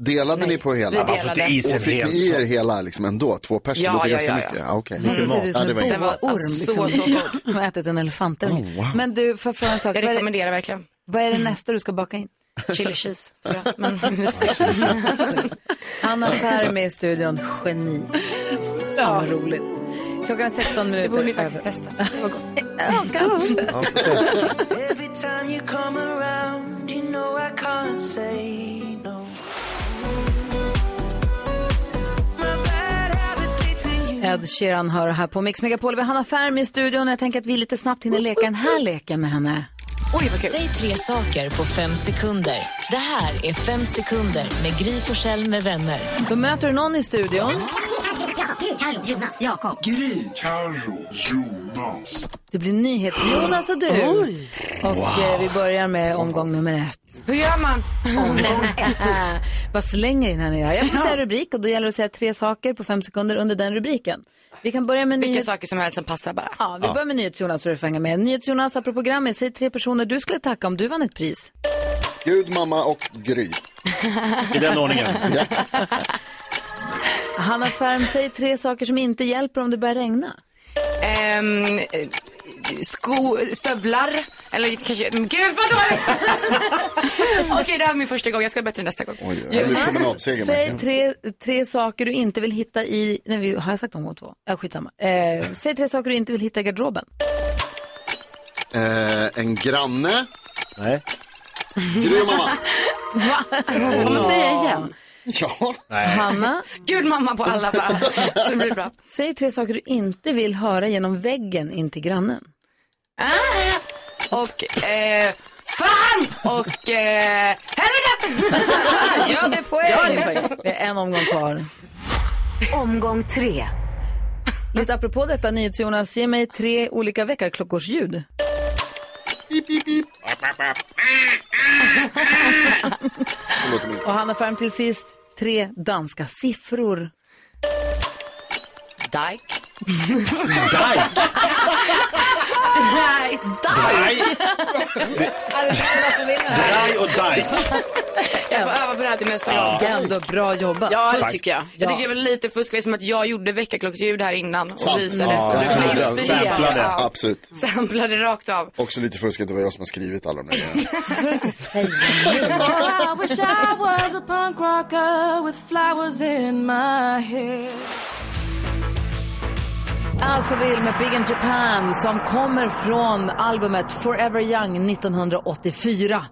Speaker 2: Delade
Speaker 14: Nej,
Speaker 2: ni på hela?
Speaker 14: vi delade. Och fick ni i er
Speaker 2: Och fick
Speaker 14: hel
Speaker 2: ni er
Speaker 14: sort?
Speaker 2: hela liksom ändå? Två pers,
Speaker 14: Ja,
Speaker 2: det låter
Speaker 14: ja,
Speaker 2: ganska
Speaker 14: ja,
Speaker 2: mycket.
Speaker 14: ja.
Speaker 2: Ja, okej.
Speaker 14: Mm.
Speaker 2: Mycket
Speaker 14: Det ser
Speaker 2: mat.
Speaker 14: ut
Speaker 2: Ja,
Speaker 14: som
Speaker 2: det var
Speaker 14: en
Speaker 2: inte-
Speaker 14: boa.
Speaker 1: Orm liksom.
Speaker 14: Så, så gott.
Speaker 1: Som har ätit en elefantunge.
Speaker 2: Oh, wow.
Speaker 1: Men du, får jag fråga en sak?
Speaker 14: Jag
Speaker 1: Vad är det-
Speaker 14: rekommenderar verkligen.
Speaker 1: Vad är det nästa du ska baka in?
Speaker 14: Chili cheese, tror jag.
Speaker 1: Anna Ferm är med i studion, geni. Fan vad roligt. Klockan är 16 minuter
Speaker 14: Det borde ni faktiskt
Speaker 1: över.
Speaker 14: testa.
Speaker 1: ja, kanske.
Speaker 6: Ja, får se.
Speaker 15: Every time you come around, you know I can't say no. My bad habits lead to you.
Speaker 1: Ed Sheeran hör här på Mix Megapol. Vi har Hanna Ferm i studion. Jag tänker att vi lite snabbt hinner leka den här leken med henne.
Speaker 4: Oj, vad kul. Säg tre saker på fem sekunder. Det här är Fem sekunder med Gry Forssell med vänner.
Speaker 1: Då möter du någon i studion.
Speaker 4: Gry, Carro, Jonas, Jakob.
Speaker 15: Gry, Carro, Jonas.
Speaker 1: Det blir NyhetsJonas och du.
Speaker 15: Oj.
Speaker 1: Och eh, vi börjar med omgång nummer ett.
Speaker 14: Hur gör man?
Speaker 1: Bara slänger in här nere. Jag får säga rubrik och då gäller det att säga tre saker på fem sekunder under den rubriken. Vi kan börja med
Speaker 14: Vilka
Speaker 1: nyhets...
Speaker 14: saker som helst som passar bara.
Speaker 1: Ja, vi börjar med NyhetsJonas så du får hänga med. NyhetsJonas, apropå Grammy, säg tre personer du skulle tacka om du vann ett pris.
Speaker 2: Gud, mamma och Gry.
Speaker 6: I den ordningen.
Speaker 2: Ja.
Speaker 1: Hanna Färm, säg tre saker som inte hjälper om det börjar regna.
Speaker 14: Ehm, eh, sko, stövlar, eller kanske, men gud vad dåligt! Okej, det här är min första gång, jag ska bättre nästa gång.
Speaker 2: Oj, det här blir promenadseger.
Speaker 1: Säg
Speaker 2: Martin.
Speaker 1: tre, tre saker du inte vill hitta i... Nej, vi- har jag sagt omgång två? Ja, skitsamma. Eh, säg tre saker du inte vill hitta i garderoben.
Speaker 2: Eh, en granne.
Speaker 6: Nej.
Speaker 2: Gry och mamma.
Speaker 1: Va?
Speaker 2: Får man säga igen? Ja.
Speaker 1: Hanna?
Speaker 14: Gud mamma på alla bara. Det blir bra.
Speaker 1: Säg tre saker du inte vill höra genom väggen in till grannen.
Speaker 14: Ah, och, eh, fan! Och, eh, helvete!
Speaker 1: Ja, det är poäng. Ja, det är poäng. Det är en omgång kvar.
Speaker 4: Omgång tre.
Speaker 1: Lite apropå detta, NyhetsJonas, ge mig tre olika väckarklockors ljud. Och Hanna Färm till sist, tre danska siffror.
Speaker 14: Dike.
Speaker 6: Dike?
Speaker 14: Dajs,
Speaker 6: Daj.
Speaker 14: Daj
Speaker 6: och dajs.
Speaker 14: Jag får öva på det här till nästa
Speaker 1: Ja.
Speaker 14: gång.
Speaker 1: Det är ändå bra jobbat.
Speaker 14: Ja, det
Speaker 1: Faktiskt.
Speaker 14: tycker jag.
Speaker 1: Ja.
Speaker 14: Jag tycker det var lite fusk som att jag gjorde väckarklocksljud här innan och visade.
Speaker 2: Ja,
Speaker 14: så du
Speaker 2: samplade.
Speaker 14: blev inspirerad.
Speaker 2: Samplade.
Speaker 14: Ja,
Speaker 2: Absolut.
Speaker 14: Samplade rakt av.
Speaker 2: Också lite fusk att det var jag som har skrivit alla de där grejerna.
Speaker 1: Du får inte säga
Speaker 15: I wish I was a punk rocker with flowers in my hair.
Speaker 1: Alphaville Alltså, med Big in Japan som kommer från albumet Forever Young 1984.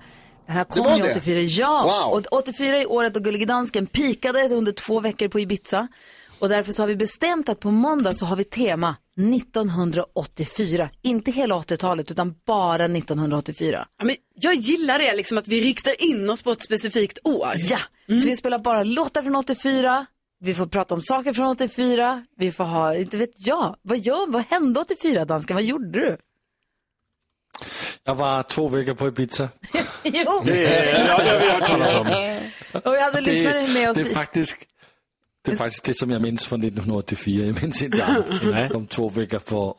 Speaker 1: Det här kom
Speaker 15: Det var
Speaker 1: ju
Speaker 15: det?
Speaker 1: 84, ja.
Speaker 15: Wow.
Speaker 1: Och 84 är året då Gullige Dansken pikade under två veckor på Ibiza. Och därför så har vi bestämt att på måndag så har vi tema 1984. Inte hela 80-talet utan bara 1984.
Speaker 7: Ja, men jag gillar det, liksom, att vi riktar in oss på ett specifikt år.
Speaker 1: Ja, så vi spelar bara låtar från 84. Vi får prata om saker från 84. Vi får ha, inte vet jag, vad, gör, vad hände 84 dansken? Vad gjorde du?
Speaker 8: Jag var två veckor på Ibiza.
Speaker 1: jo!
Speaker 8: ja, det har vi hört talas om.
Speaker 1: Och vi hade lyssnare med oss.
Speaker 8: det er är
Speaker 1: i-
Speaker 8: faktiskt det, är faktiskt det som jag minns från 1984. Jag minns inte allt. De två veckor på,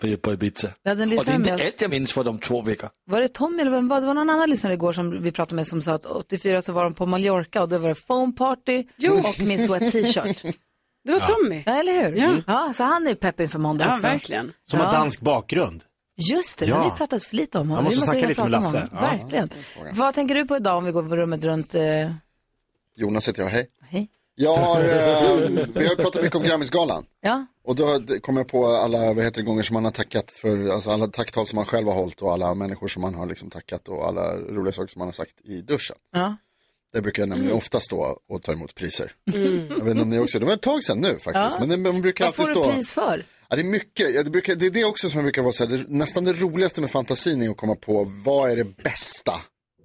Speaker 8: på, på Ibiza.
Speaker 1: Ja, den lyssnar
Speaker 8: Och det är inte
Speaker 1: med oss.
Speaker 8: allt jag minns från de två veckor.
Speaker 1: Var det Tommy eller vem var det? Det var någon annan lyssnare igår som vi pratade med som sa att 84 så var de på Mallorca och då var det foam party och Miss Wet T-shirt.
Speaker 7: Det var Tommy.
Speaker 1: Ja, eller hur?
Speaker 7: Ja.
Speaker 1: Ja. så han är ju pepp inför måndag
Speaker 7: Ja,
Speaker 1: också.
Speaker 7: verkligen.
Speaker 6: Som
Speaker 1: Ja.
Speaker 6: har dansk bakgrund.
Speaker 1: Just det, det
Speaker 6: Ja.
Speaker 1: har vi pratat för lite om.
Speaker 6: Man
Speaker 1: Vi
Speaker 6: måste snacka
Speaker 1: ringa och
Speaker 6: lite med
Speaker 1: prata om
Speaker 6: Lasse.
Speaker 1: honom.
Speaker 6: Ja.
Speaker 1: Verkligen. Vad tänker du på idag om vi går på rummet runt? Eh...
Speaker 2: Jonas heter jag, hej.
Speaker 1: Hej.
Speaker 2: Jag har, eh, vi har ju pratat mycket om Grammisgalan.
Speaker 1: Ja.
Speaker 2: Och då kom jag på alla, vad heter det, gånger som man har tackat för, alltså alla tacktal som man själv har hållit och alla människor som man har liksom tackat och alla roliga saker som man har sagt i duschen.
Speaker 1: Ja.
Speaker 2: Där brukar jag nämligen
Speaker 1: Mm.
Speaker 2: ofta stå och ta emot priser.
Speaker 1: Mm.
Speaker 2: Jag vet inte om ni också, det var ett tag sedan nu faktiskt.
Speaker 1: Ja.
Speaker 2: Men det, man brukar
Speaker 1: Vad
Speaker 2: alltid
Speaker 1: får du
Speaker 2: stå...
Speaker 1: pris för?
Speaker 2: Ja, det är mycket, ja, det, brukar, det är det också som jag brukar vara så här, det, nästan det roligaste med fantasin är att komma på vad är det bästa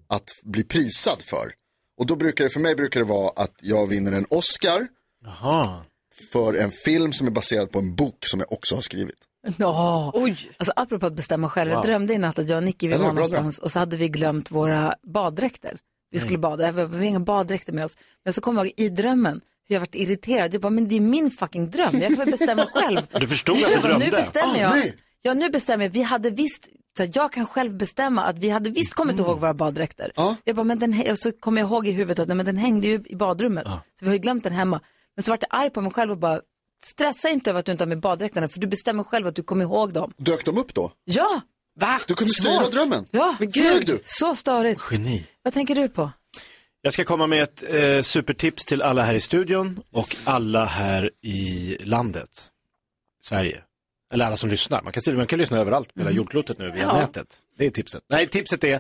Speaker 2: att bli prisad för. Och då brukar det, för mig brukar det vara att jag vinner en Oscar för en film som är baserad på en bok som jag också har skrivit.
Speaker 1: Ja, alltså apropå att bestämma själv. Jag
Speaker 2: Wow.
Speaker 1: drömde i natt att jag och Nicky vi
Speaker 2: Ja, det
Speaker 1: var
Speaker 2: var bra
Speaker 1: någonstans och så hade vi glömt våra baddräkter. Vi skulle
Speaker 2: Mm.
Speaker 1: bada, vi hade inga baddräkter med oss. Men så kom jag ihåg i drömmen hur jag varit irriterad. Jag bara, men det är min fucking dröm, jag får bestämma själv.
Speaker 6: Du förstod att du
Speaker 1: Jag bara,
Speaker 6: drömde.
Speaker 1: Nu bestämmer
Speaker 6: Ah,
Speaker 1: jag.
Speaker 6: nej.
Speaker 1: Ja, nu bestämmer jag. Vi hade visst så här, jag kan själv bestämma att vi hade visst kommit
Speaker 2: Mm.
Speaker 1: ihåg våra baddräkter. Jag bara, men den, hä- och så kom jag ihåg i huvudet att nej, men den hängde ju i badrummet. Så vi har ju glömt den hemma. Men så vart jag arg på mig själv och bara, stressa inte över att du inte har med baddräkterna för du bestämmer själv att du kommer ihåg dem.
Speaker 2: Dök de upp då?
Speaker 1: Ja! Va?
Speaker 2: Du kunde styra
Speaker 1: Svårt.
Speaker 2: drömmen?
Speaker 1: Ja,
Speaker 2: Men gud. Flög du?
Speaker 1: så störigt.
Speaker 6: Geni.
Speaker 1: Vad tänker du på?
Speaker 6: Jag ska komma med ett eh, supertips till alla här i studion och alla här i landet. Sverige. Eller alla som lyssnar. Man kan, se- man kan lyssna överallt på hela jordklotet nu via
Speaker 16: Mm. Ja.
Speaker 6: nätet. Det är tipset. Nej, tipset är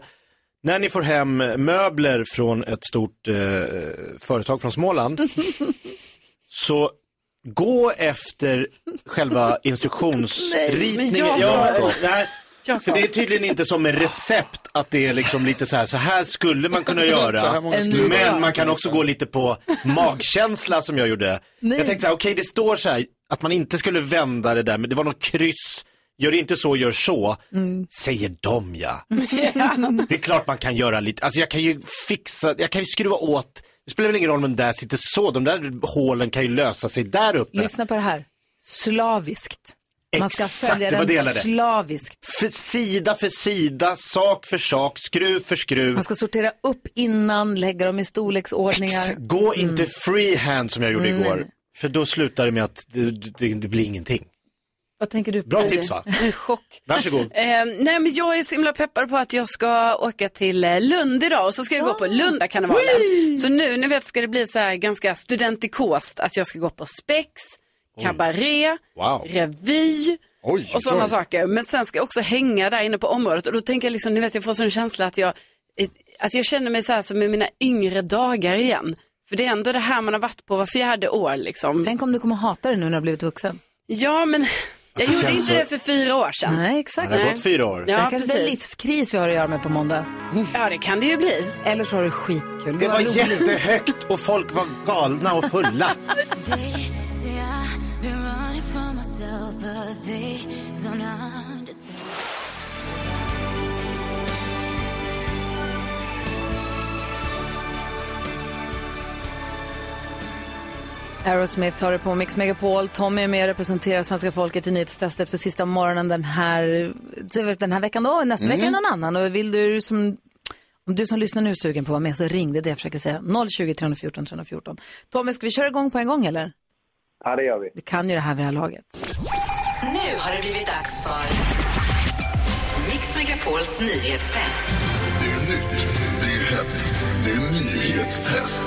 Speaker 6: när ni får hem möbler från ett stort eh, företag från Småland så gå efter själva instruktionsritningen.
Speaker 16: men jag-
Speaker 6: Ja,
Speaker 16: Jakob.
Speaker 6: nej, för det är tydligen inte som med recept att det är liksom lite så här, så här skulle man kunna
Speaker 16: Så här
Speaker 6: göra.
Speaker 16: många skulle göra.
Speaker 6: Men man kan också gå lite på magkänsla som jag gjorde.
Speaker 16: Nej.
Speaker 6: Jag tänkte så här, okej det står så här att man inte skulle vända det där, men det var något kryss. Gör inte så, gör så.
Speaker 1: Mm.
Speaker 6: Säger de ja. Det är klart man kan göra lite, alltså jag kan ju fixa, jag kan ju skruva åt, det spelar väl ingen roll om den där sitter så, de där hålen kan ju lösa sig där uppe.
Speaker 1: Lyssna på det här. Slaviskt. Man ska
Speaker 6: Exakt,
Speaker 1: följa
Speaker 6: det var det jag
Speaker 1: den
Speaker 6: lärde.
Speaker 1: slaviskt.
Speaker 6: För sida för sida, sak för sak, skruv för skruv.
Speaker 1: Man ska sortera upp innan, lägga dem i storleksordningar.
Speaker 6: Gå inte freehand som jag gjorde
Speaker 1: Mm.
Speaker 6: igår. För då slutar det med att det, det, det blir ingenting.
Speaker 7: Vad tänker du på?
Speaker 6: Bra tips va?
Speaker 7: En chock.
Speaker 6: Varsågod.
Speaker 7: Eh, nej men jag är så himla peppad på att jag ska åka till eh, Lund idag och så ska jag gå på Lundakarnevalen. Så nu, ni vet, ska det bli så här ganska studentikost att jag ska gå på spex, kabaré,
Speaker 16: Wow.
Speaker 7: revy
Speaker 16: Oj,
Speaker 7: och sådana
Speaker 16: oj.
Speaker 7: saker. Men sen ska jag också hänga där inne på området och då tänker jag liksom, ni vet jag får sån känsla att jag, att jag känner mig så här som i mina yngre dagar igen. För det är ändå det här man har varit på var fjärde år liksom.
Speaker 1: Tänk om du kommer hata det nu när du har blivit vuxen.
Speaker 7: Ja men jag
Speaker 1: det
Speaker 7: gjorde
Speaker 1: känns
Speaker 7: inte
Speaker 1: så-
Speaker 7: det för fyra år sedan.
Speaker 1: Nej, exakt.
Speaker 7: Nej. Ja,
Speaker 1: Ja, det kanske blir
Speaker 7: precis.
Speaker 1: livskris vi har att göra med på måndag.
Speaker 7: Ja, det kan det ju bli.
Speaker 1: Eller så har du skitkul.
Speaker 6: Det
Speaker 1: Vad
Speaker 6: var
Speaker 1: roligt.
Speaker 6: jättehögt och folk var galna och fulla.
Speaker 5: They say I've been running from myself, but they don't understand.
Speaker 1: Aerosmith har det på Mix Megapol. Tommy är med och representerar svenska folket i nyhetstestet för sista morgonen den här, den här veckan då. Nästa
Speaker 7: Mm.
Speaker 1: vecka är någon annan. Och vill du som, om du som lyssnar nu är sugen på att vara med så ring. Det är det jag försöker säga. 020 314 314. Tommy, ska vi köra igång på en gång eller?
Speaker 17: Ja, det gör vi.
Speaker 1: Du kan ju det här vid det här laget.
Speaker 18: Nu har det blivit dags för Mix Megapols nyhetstest.
Speaker 16: Det är nytt, det är hett, det är nyhetstest.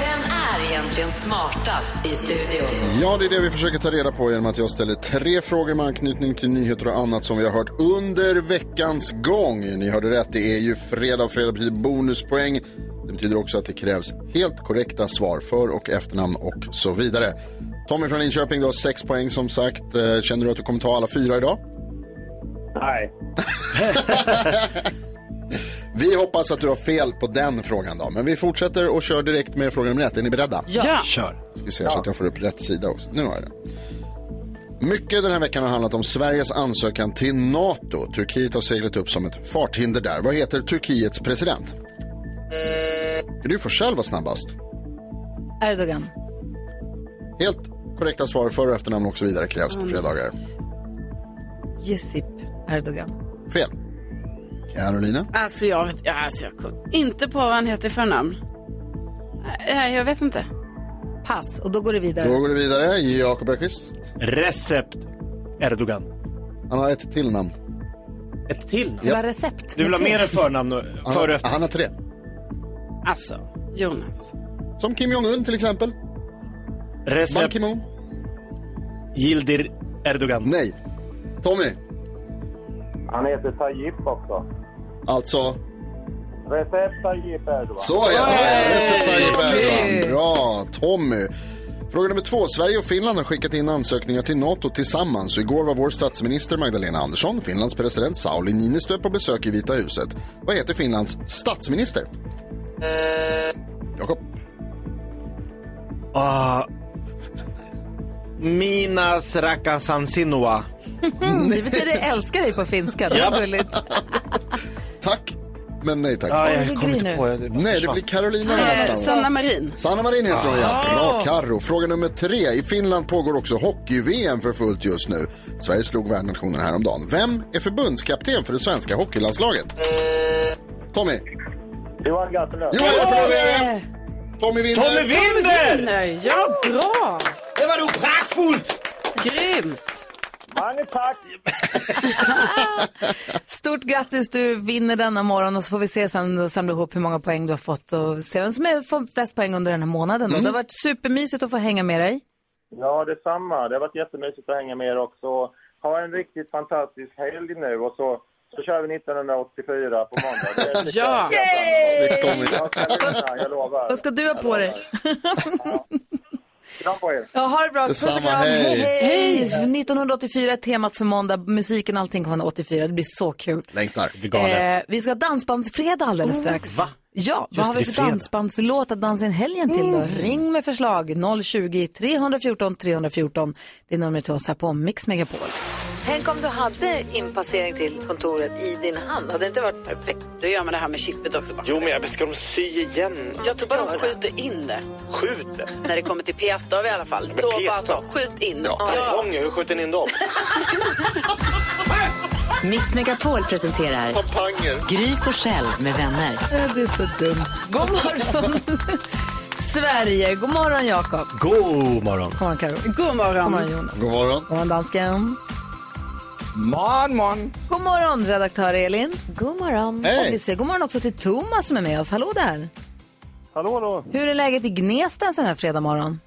Speaker 18: Vem är egentligen smartast i studion?
Speaker 2: Ja, det är det vi försöker ta reda på genom att jag ställer tre frågor med anknytning till nyheter och annat som vi har hört under veckans gång. Ni hörde rätt, det är ju fredag och fredag betyder bonuspoäng. Det betyder också att det krävs helt korrekta svar för och efternamn och så vidare. Tommy från Linköping, du har sex poäng som sagt. Eh, Känner du att du kommer ta alla fyra idag?
Speaker 17: Nej.
Speaker 2: Vi hoppas att du har fel på den frågan då. Men vi fortsätter och kör direkt med fråga nummer ett. Är ni beredda?
Speaker 16: Ja. Ja.
Speaker 2: Kör. Ska vi se så att jag får upp rätt sida också. Nu har jag den. Mycket den här veckan har handlat om Sveriges ansökan till NATO. Turkiet har seglat upp som ett farthinder där. Vad heter Turkiets president? Du får själv vara snabbast.
Speaker 1: Erdogan.
Speaker 2: Helt korrekta svar, för och efternamn och så vidare krävs på fredagar.
Speaker 1: Jessip Erdogan.
Speaker 2: Fel. Carolina?
Speaker 7: Alltså jag vet ja, alltså jag kom inte på vad han heter för namn. Nej, jag vet inte.
Speaker 1: Pass, och då går det vidare.
Speaker 2: Då går det vidare. Jakob Öqvist.
Speaker 6: Recept Erdogan.
Speaker 2: Han har ett till namn.
Speaker 6: Ett till?
Speaker 1: Det var recept.
Speaker 6: Du vill ha
Speaker 1: Med
Speaker 6: mer
Speaker 1: te.
Speaker 6: än förnamn och
Speaker 2: Han
Speaker 6: för
Speaker 2: har,
Speaker 6: och efter?
Speaker 2: han har tre.
Speaker 7: Alltså, Jonas.
Speaker 2: Som Kim Jong-Un till exempel. Ban
Speaker 6: Recep
Speaker 2: Ki-Moon.
Speaker 6: Gildir Erdogan.
Speaker 2: Nej. Tommy.
Speaker 17: Han heter Tayyip också.
Speaker 2: Alltså,
Speaker 17: Recep Tayyip Erdogan.
Speaker 2: så ja. Hey! Recep Tayyip Erdogan. Bra, Tommy. Fråga nummer två. Sverige och Finland har skickat in ansökningar till NATO tillsammans. Och igår var vår statsminister Magdalena Andersson, Finlands president Sauli Niinistö på besök i Vita huset. Vad heter Finlands statsminister? Jakob.
Speaker 6: Ah. Minas Rakasan Sinua.
Speaker 1: det betyder älskar dig på finska. Det var
Speaker 6: Ja.
Speaker 1: gulligt.
Speaker 2: Tack. men nej tack.
Speaker 6: Ja,
Speaker 7: jag Oj, kom inte Gry nu. på, jag- det
Speaker 2: Nej, det
Speaker 7: försvann.
Speaker 2: blir Carolina
Speaker 7: Eh,
Speaker 2: nästa
Speaker 7: Sanna Marin.
Speaker 2: Sanna Marin heter hon ja.
Speaker 7: Ah.
Speaker 2: Bra Carro. Fråga nummer tre. I Finland pågår också hockey-VM för fullt just nu. Sverige slog värdnationen häromdagen. Vem är förbundskapten för det svenska hockeylandslaget? Tommy.
Speaker 17: Johan Garpenlöv.
Speaker 2: Johan Garpenlöv är det! Tommy vinner!
Speaker 17: Tommy vinner!
Speaker 7: Ja, bra!
Speaker 6: Det var nog praktfullt!
Speaker 7: Grymt!
Speaker 17: Mange tack!
Speaker 1: Stort grattis, du vinner denna morgon och så får vi se sen och samla ihop hur många poäng du har fått och se vem som är- får flest poäng under den här månaden.
Speaker 17: Mm.
Speaker 1: då. Det har varit supermysigt att få hänga med dig.
Speaker 17: Ja, detsamma. Det har varit jättemysigt att hänga med er också. Ha en riktigt fantastisk helg nu och så, så kör vi 1984 på måndag. Det är lite-
Speaker 1: Ja! Yay! Snyggt, Tommy.
Speaker 17: Jag ska vinna, jag lovar.
Speaker 1: Vad ska du ha på dig?
Speaker 17: Kram på er.
Speaker 1: Ja, ha det bra. Puss och
Speaker 17: Detsamma,
Speaker 1: kram.
Speaker 17: hej.
Speaker 1: hej! 1984 är temat för måndag. Musiken och allting kommer vara 84. Det blir så kul.
Speaker 2: Längtar.
Speaker 1: Eh, vi ska ha dansbandsfredag alldeles strax.
Speaker 6: Oh. Va?
Speaker 1: Ja,
Speaker 6: Just
Speaker 1: vad har
Speaker 6: det,
Speaker 1: vi
Speaker 6: det
Speaker 1: för
Speaker 6: är fredag. Oh.
Speaker 1: dansbandslåt att dansa in helgen till då? Ring med förslag 020-314 314. Det är numret till oss här på Mix Megapol. Tänk om du hade inpassering till kontoret i din hand. Hade det inte varit perfekt?
Speaker 7: Då gör man det här med chippet också. Bara.
Speaker 6: Jo, men jag ska de sy igen?
Speaker 7: Jag tror bara de skjuter in det.
Speaker 6: Skjuter?
Speaker 7: När det kommer till p-stav i alla fall.
Speaker 6: Men
Speaker 7: Då bara så,
Speaker 6: p-stav?
Speaker 7: skjut in.
Speaker 6: Tamponger, hur skjuter ni in dem?
Speaker 18: Mix Megapol presenterar Gry på själv med vänner.
Speaker 1: Det är så dumt. God morgon Sverige, god morgon Jakob.
Speaker 6: God morgon.
Speaker 1: God morgon Karo.
Speaker 7: God morgon.
Speaker 1: God morgon Jonas.
Speaker 2: God morgon.
Speaker 1: God morgon dansken.
Speaker 8: Morgon, morgon.
Speaker 1: God morgon redaktör Elin. God morgon.
Speaker 8: Hej.
Speaker 1: Och vi säger god morgon också till Thomas som är med oss. Hallå där.
Speaker 17: Hallå, hallå.
Speaker 1: Hur är läget i Gnesta en sån här fredag morgon?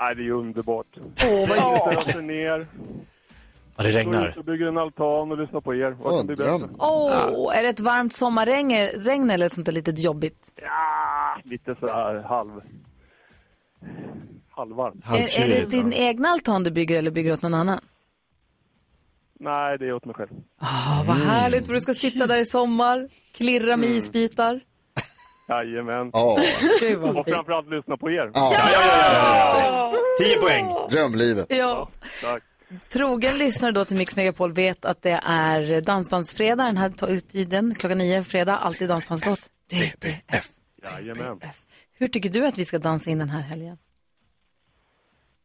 Speaker 17: Nej, det är underbart.
Speaker 1: Åh, vad
Speaker 17: Jag öser ner.
Speaker 6: Ja, det
Speaker 17: Går ut
Speaker 6: regnar.
Speaker 17: och bygger en altan och lyssnar på er. Vad kan bli bättre?
Speaker 1: Åh, är det ett varmt sommarregn regn eller ett sånt där litet jobbigt?
Speaker 17: Ja, lite så här halv... Halvvarmt.
Speaker 1: Är, är det din egna altan du bygger eller bygger du åt någon annan?
Speaker 17: Nej, det är åt mig själv.
Speaker 1: Oh,
Speaker 6: Mm.
Speaker 1: vad härligt vad du ska sitta där i sommar, klirra med isbitar.
Speaker 17: Jajamän.
Speaker 2: Ja.
Speaker 1: Gud, vad
Speaker 17: och
Speaker 1: fint.
Speaker 17: framförallt lyssna på er.
Speaker 2: Ja. Ja,
Speaker 1: ja,
Speaker 17: ja,
Speaker 6: Tio poäng.
Speaker 2: Drömlivet.
Speaker 1: Ja.
Speaker 17: Tack.
Speaker 1: Trogen lyssnare då till Mix Megapol vet att det är dansbandsfredag den här to- tiden, klockan nio fredag, alltid dansbandslåt.
Speaker 17: Jajamän.
Speaker 1: Hur tycker du att vi ska dansa in den här helgen?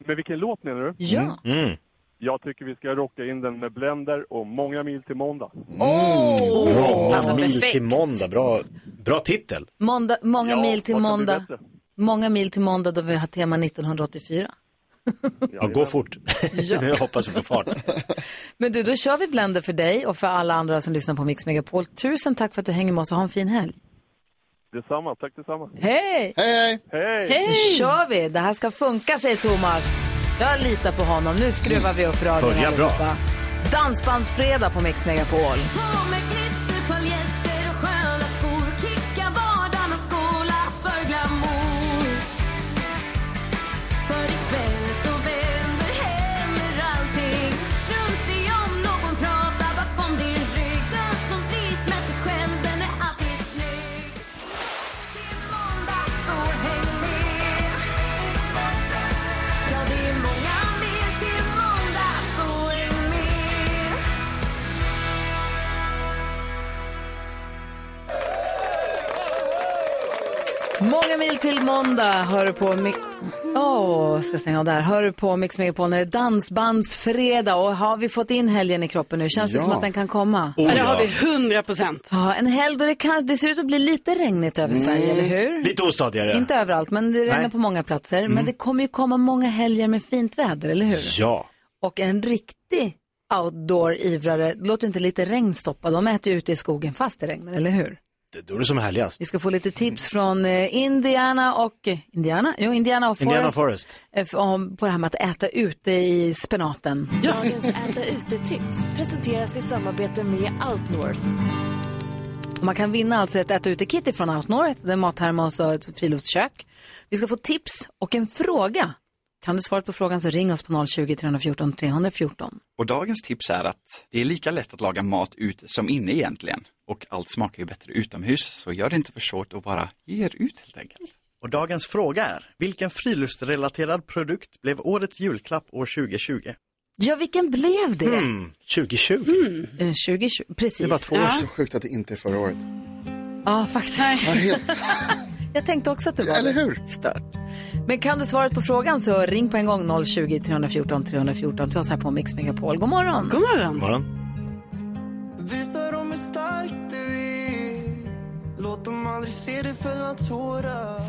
Speaker 17: Men vilken låt menar du?
Speaker 1: Ja.
Speaker 6: Mm.
Speaker 17: Jag tycker vi ska rocka in den med Blender och Många mil till måndag.
Speaker 2: Mm.
Speaker 19: Oh!
Speaker 6: Många
Speaker 1: Alltså,
Speaker 6: mil
Speaker 1: perfekt.
Speaker 6: till måndag. Bra, bra titel.
Speaker 1: Måndag, många
Speaker 6: Ja,
Speaker 1: mil till
Speaker 6: vad kan bli
Speaker 1: måndag.
Speaker 6: bättre?
Speaker 1: Många mil till måndag då vi har tema 1984.
Speaker 6: Ja, gå fort. nu hoppas vi på fart.
Speaker 1: Men du, då kör vi Blender för dig och för alla andra som lyssnar på Mix Megapol. Tusen tack för att du hänger med oss och ha en fin helg.
Speaker 17: Detsamma, tack detsamma.
Speaker 1: Hej!
Speaker 2: Hej!
Speaker 17: Hej!
Speaker 1: Nu kör vi! Det här ska funka, säger Thomas. Jag litar på honom. Nu skruvar vi upp radion
Speaker 6: Börjar bra.
Speaker 1: allihopa. Dansbandsfredag på Mix Megapol.
Speaker 5: På med glitterpaljetter och sköna skor Kicka vardagen och skåla för glamour För ikväll så vänder händer allting Strunt i om någon pratar bakom din rygg Den som trivs med sig själv den är alltid snygg Till måndag så häng med Ja, det är många mer till måndag så häng med
Speaker 1: Många mil till måndag hör du på Mix... Åh, ska stänga av där. Hör du på Mix Megapol när det är dansbandsfredag. Och har vi fått in helgen i kroppen nu? Känns det
Speaker 7: Ja.
Speaker 1: som att den kan komma?
Speaker 7: Oh, det har vi 100 procent.
Speaker 1: Ja, en helg då det, kan, det ser ut att bli lite regnigt över Sverige,
Speaker 6: Mm.
Speaker 1: eller hur?
Speaker 6: Lite ostadigare.
Speaker 1: Inte överallt, men det regnar
Speaker 6: Nej. Mm.
Speaker 1: på många platser. Men det kommer ju komma många helger med fint väder, eller hur?
Speaker 6: Ja.
Speaker 1: Och en riktig outdoor-ivrare, låt inte lite regn stoppa. De äter ju ute i skogen fast det regnar, eller hur?
Speaker 6: Det, då är det som härligast.
Speaker 1: Vi ska få lite tips
Speaker 6: Mm.
Speaker 1: från eh, Indiana och eh, Indiana? Jo, Indiana och Forest.
Speaker 6: Indiana Forest.
Speaker 1: Eh, f- om- På det här med att äta ute i spenaten.
Speaker 4: Dagens äta ute-tips presenteras i samarbete med Outnorth.
Speaker 1: Man kan vinna alltså ett äta ute-kit från Outnorth, det är mathermos och ett friluftskök. Vi ska få tips och en fråga. Kan du svaret på frågan så ring oss på 020 314 314.
Speaker 20: Och dagens tips är att det är lika lätt att laga mat ute som inne egentligen. Och allt smakar ju bättre utomhus, så gör det inte för svårt och bara ge er ut helt enkelt.
Speaker 21: Och dagens fråga är, vilken friluftsrelaterad produkt blev årets julklapp år Hmm. 2020?
Speaker 1: Ja, vilken blev det?
Speaker 6: Mm, 2020.
Speaker 1: Eh, 2020, precis.
Speaker 2: Det är bara två år. Så sjukt att det inte är förra året.
Speaker 1: Ja. Ja, faktiskt. Jag tänkte också att det var Eller hur? stört. Men kan du svaret på frågan så ring på en gång 020-314 314 till oss här på Mix Megapol. God morgon!
Speaker 7: God morgon!
Speaker 6: morgon.
Speaker 22: Visa dem hur stark du är Låt dem aldrig se dig fälla tårar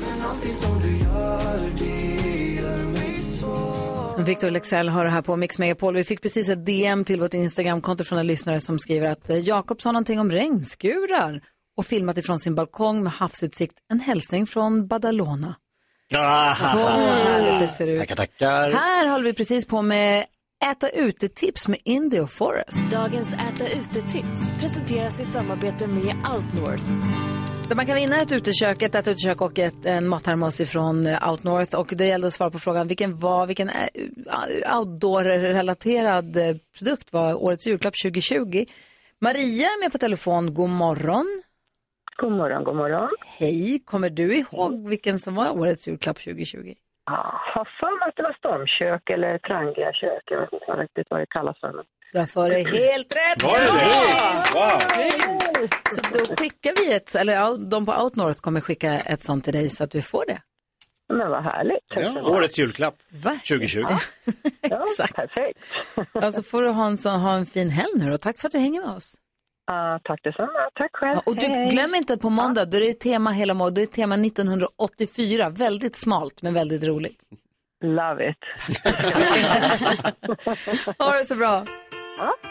Speaker 22: Men allting som du gör, det gör mig svår
Speaker 1: Victor Lexell har det här på Mix Megapol. Vi fick precis ett DM till vårt Instagramkonto från en lyssnare som skriver att eh, Jakob sa någonting om regnskurar och filmat ifrån sin balkong med havsutsikt. En hälsning från Badalona. Så härligt det ser ut.
Speaker 23: Tackar, tackar.
Speaker 1: Här håller vi precis på med äta ute-tips med Indio Forest.
Speaker 4: Dagens äta ute-tips presenteras i samarbete med Outnorth.
Speaker 1: Där man kan vinna ett utekök, ett äta utekök och ett, en mattermos ifrån eh, Out North. Och det gällde att svara på frågan vilken, var, vilken eh, outdoor-relaterad eh, produkt var årets julklapp 2020. Maria är med på telefon. God morgon.
Speaker 24: God morgon, god morgon.
Speaker 1: Hej, kommer du ihåg vilken som var årets julklapp 2020?
Speaker 24: Ja, har för mig att det var stormkök eller trangliga kök. Jag vet inte riktigt vad det kallas för. men-
Speaker 1: Du har för dig helt rätt!
Speaker 24: Var det det?
Speaker 1: Wow. Så då skickar vi ett, eller ja, de på Out North kommer skicka ett sånt till dig så att du får det.
Speaker 24: Men vad härligt.
Speaker 6: Årets julklapp
Speaker 1: Verkligen.
Speaker 6: 2020.
Speaker 1: Exakt. Perfekt. alltså får du ha en, sån, ha en fin helg nu då. Tack för att du hänger med oss.
Speaker 24: Ja, tack detsamma. Tack själv.
Speaker 1: Ja, och du,
Speaker 24: Hej, hej.
Speaker 1: glöm inte att på måndag, då är det tema hela månaden, då är det tema 1984. Väldigt smalt men väldigt roligt.
Speaker 24: Love it.
Speaker 1: Ha det så bra.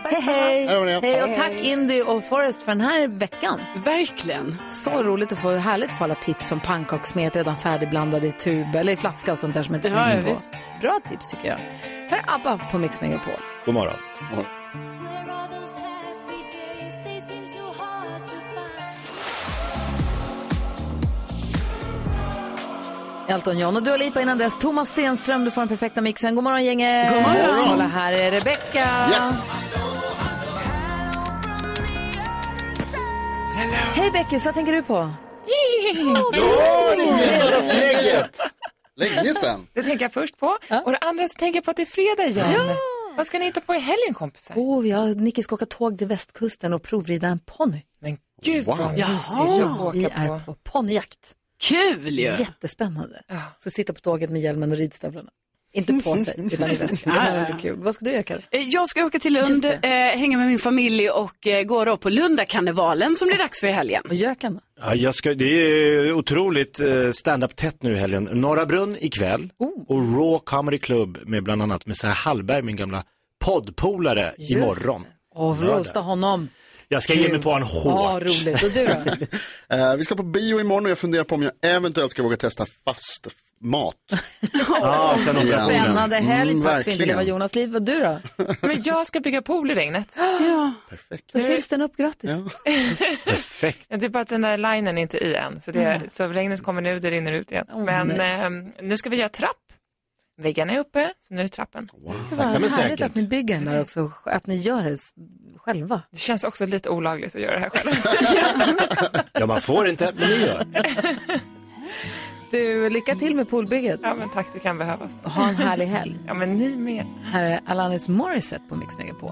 Speaker 1: hej,
Speaker 24: Hej
Speaker 1: hej.
Speaker 24: då.
Speaker 1: hej och
Speaker 24: Hej,
Speaker 1: tack
Speaker 24: hej.
Speaker 1: Indy och Forrest för den här veckan. Verkligen. Så roligt att få, härligt att få alla tips om pannkakssmet redan färdigblandade i tub eller i flaska och sånt där som inte
Speaker 7: Ja,
Speaker 1: finns
Speaker 7: ja,
Speaker 1: på.
Speaker 7: visst.
Speaker 1: Bra tips tycker jag. Här är ABBA på Mix Megapol.
Speaker 6: God morgon.
Speaker 1: Elton John och Dua Lipa innan dess. Thomas Stenström, du får den perfekta mixen. God morgon gänget.
Speaker 7: God morgon.
Speaker 1: Kolla här är Rebecca.
Speaker 7: Yes.
Speaker 1: Hej Beckis, vad tänker du på?
Speaker 2: Länge sedan.
Speaker 25: Det tänker jag först på. Och det andra så tänker jag på att det är fredag igen. Vad ska ni hitta på i helgen kompisar?
Speaker 1: Oh, jag, Nicke ska åka tåg till västkusten och provrida en ponny.
Speaker 25: Men gud
Speaker 1: Wow.
Speaker 25: vad mysigt att
Speaker 1: Jaha.
Speaker 25: åka
Speaker 1: Vi är på ponnyjakt. Kul
Speaker 25: ju.
Speaker 1: Jättespännande. Ska sitta på tåget med hjälmen och ridstövlarna. Inte på sig, utan i väskan. Det här är inte kul. Vad ska du göra Karin?
Speaker 7: Eh, Jag ska åka till
Speaker 1: Just
Speaker 7: Lund,
Speaker 1: det.
Speaker 7: eh, hänga med min familj och eh, gå då på Lundakarnevalen som det är dags för i helgen.
Speaker 1: Och Gökarna.
Speaker 6: Ja, jag ska, det är otroligt eh, stand-up tätt nu i helgen. Norra Brunn ikväll
Speaker 1: Oh.
Speaker 6: och Raw Comedy Club med bland annat Messiah Hallberg, min gamla poddpolare, imorgon.
Speaker 1: Och
Speaker 6: Lördag.
Speaker 1: roasta honom.
Speaker 6: Jag ska ge mig på en
Speaker 1: Ja,
Speaker 6: hårt.
Speaker 1: roligt. Och du då?
Speaker 2: Eh, vi ska på bio imorgon och jag funderar på om jag eventuellt ska våga testa fast mat.
Speaker 6: Ja, sen
Speaker 2: operationen.
Speaker 1: Spännande helg.
Speaker 2: Mm,
Speaker 1: Tack så mycket. Det var
Speaker 2: verkligen.
Speaker 1: Jonas liv. Och du då?
Speaker 25: Men jag ska bygga pool i regnet.
Speaker 7: Ja.
Speaker 2: Perfekt.
Speaker 1: Då fylls den upp gratis.
Speaker 6: Perfekt.
Speaker 25: Det är bara att den där linen är inte i än. Så, det,
Speaker 1: Ja.
Speaker 25: så regnet kommer nu, det rinner ut igen.
Speaker 1: Mm. Åh,
Speaker 25: Men
Speaker 1: nej.
Speaker 25: ehm, nu ska vi göra trapp. Väggarna är uppe, så nu är trappen.
Speaker 1: Det var härligt att ni bygger den där också. Att ni gör det s- själva.
Speaker 25: Det känns också lite olagligt att göra det här själv.
Speaker 6: Ja, man får inte, men ni gör.
Speaker 1: Du, lycka till med poolbygget.
Speaker 25: Ja, men tack, det kan behövas.
Speaker 1: Ha en härlig helg.
Speaker 25: Ja, men ni med.
Speaker 1: Här är Alanis Morissette på Mix Megapol.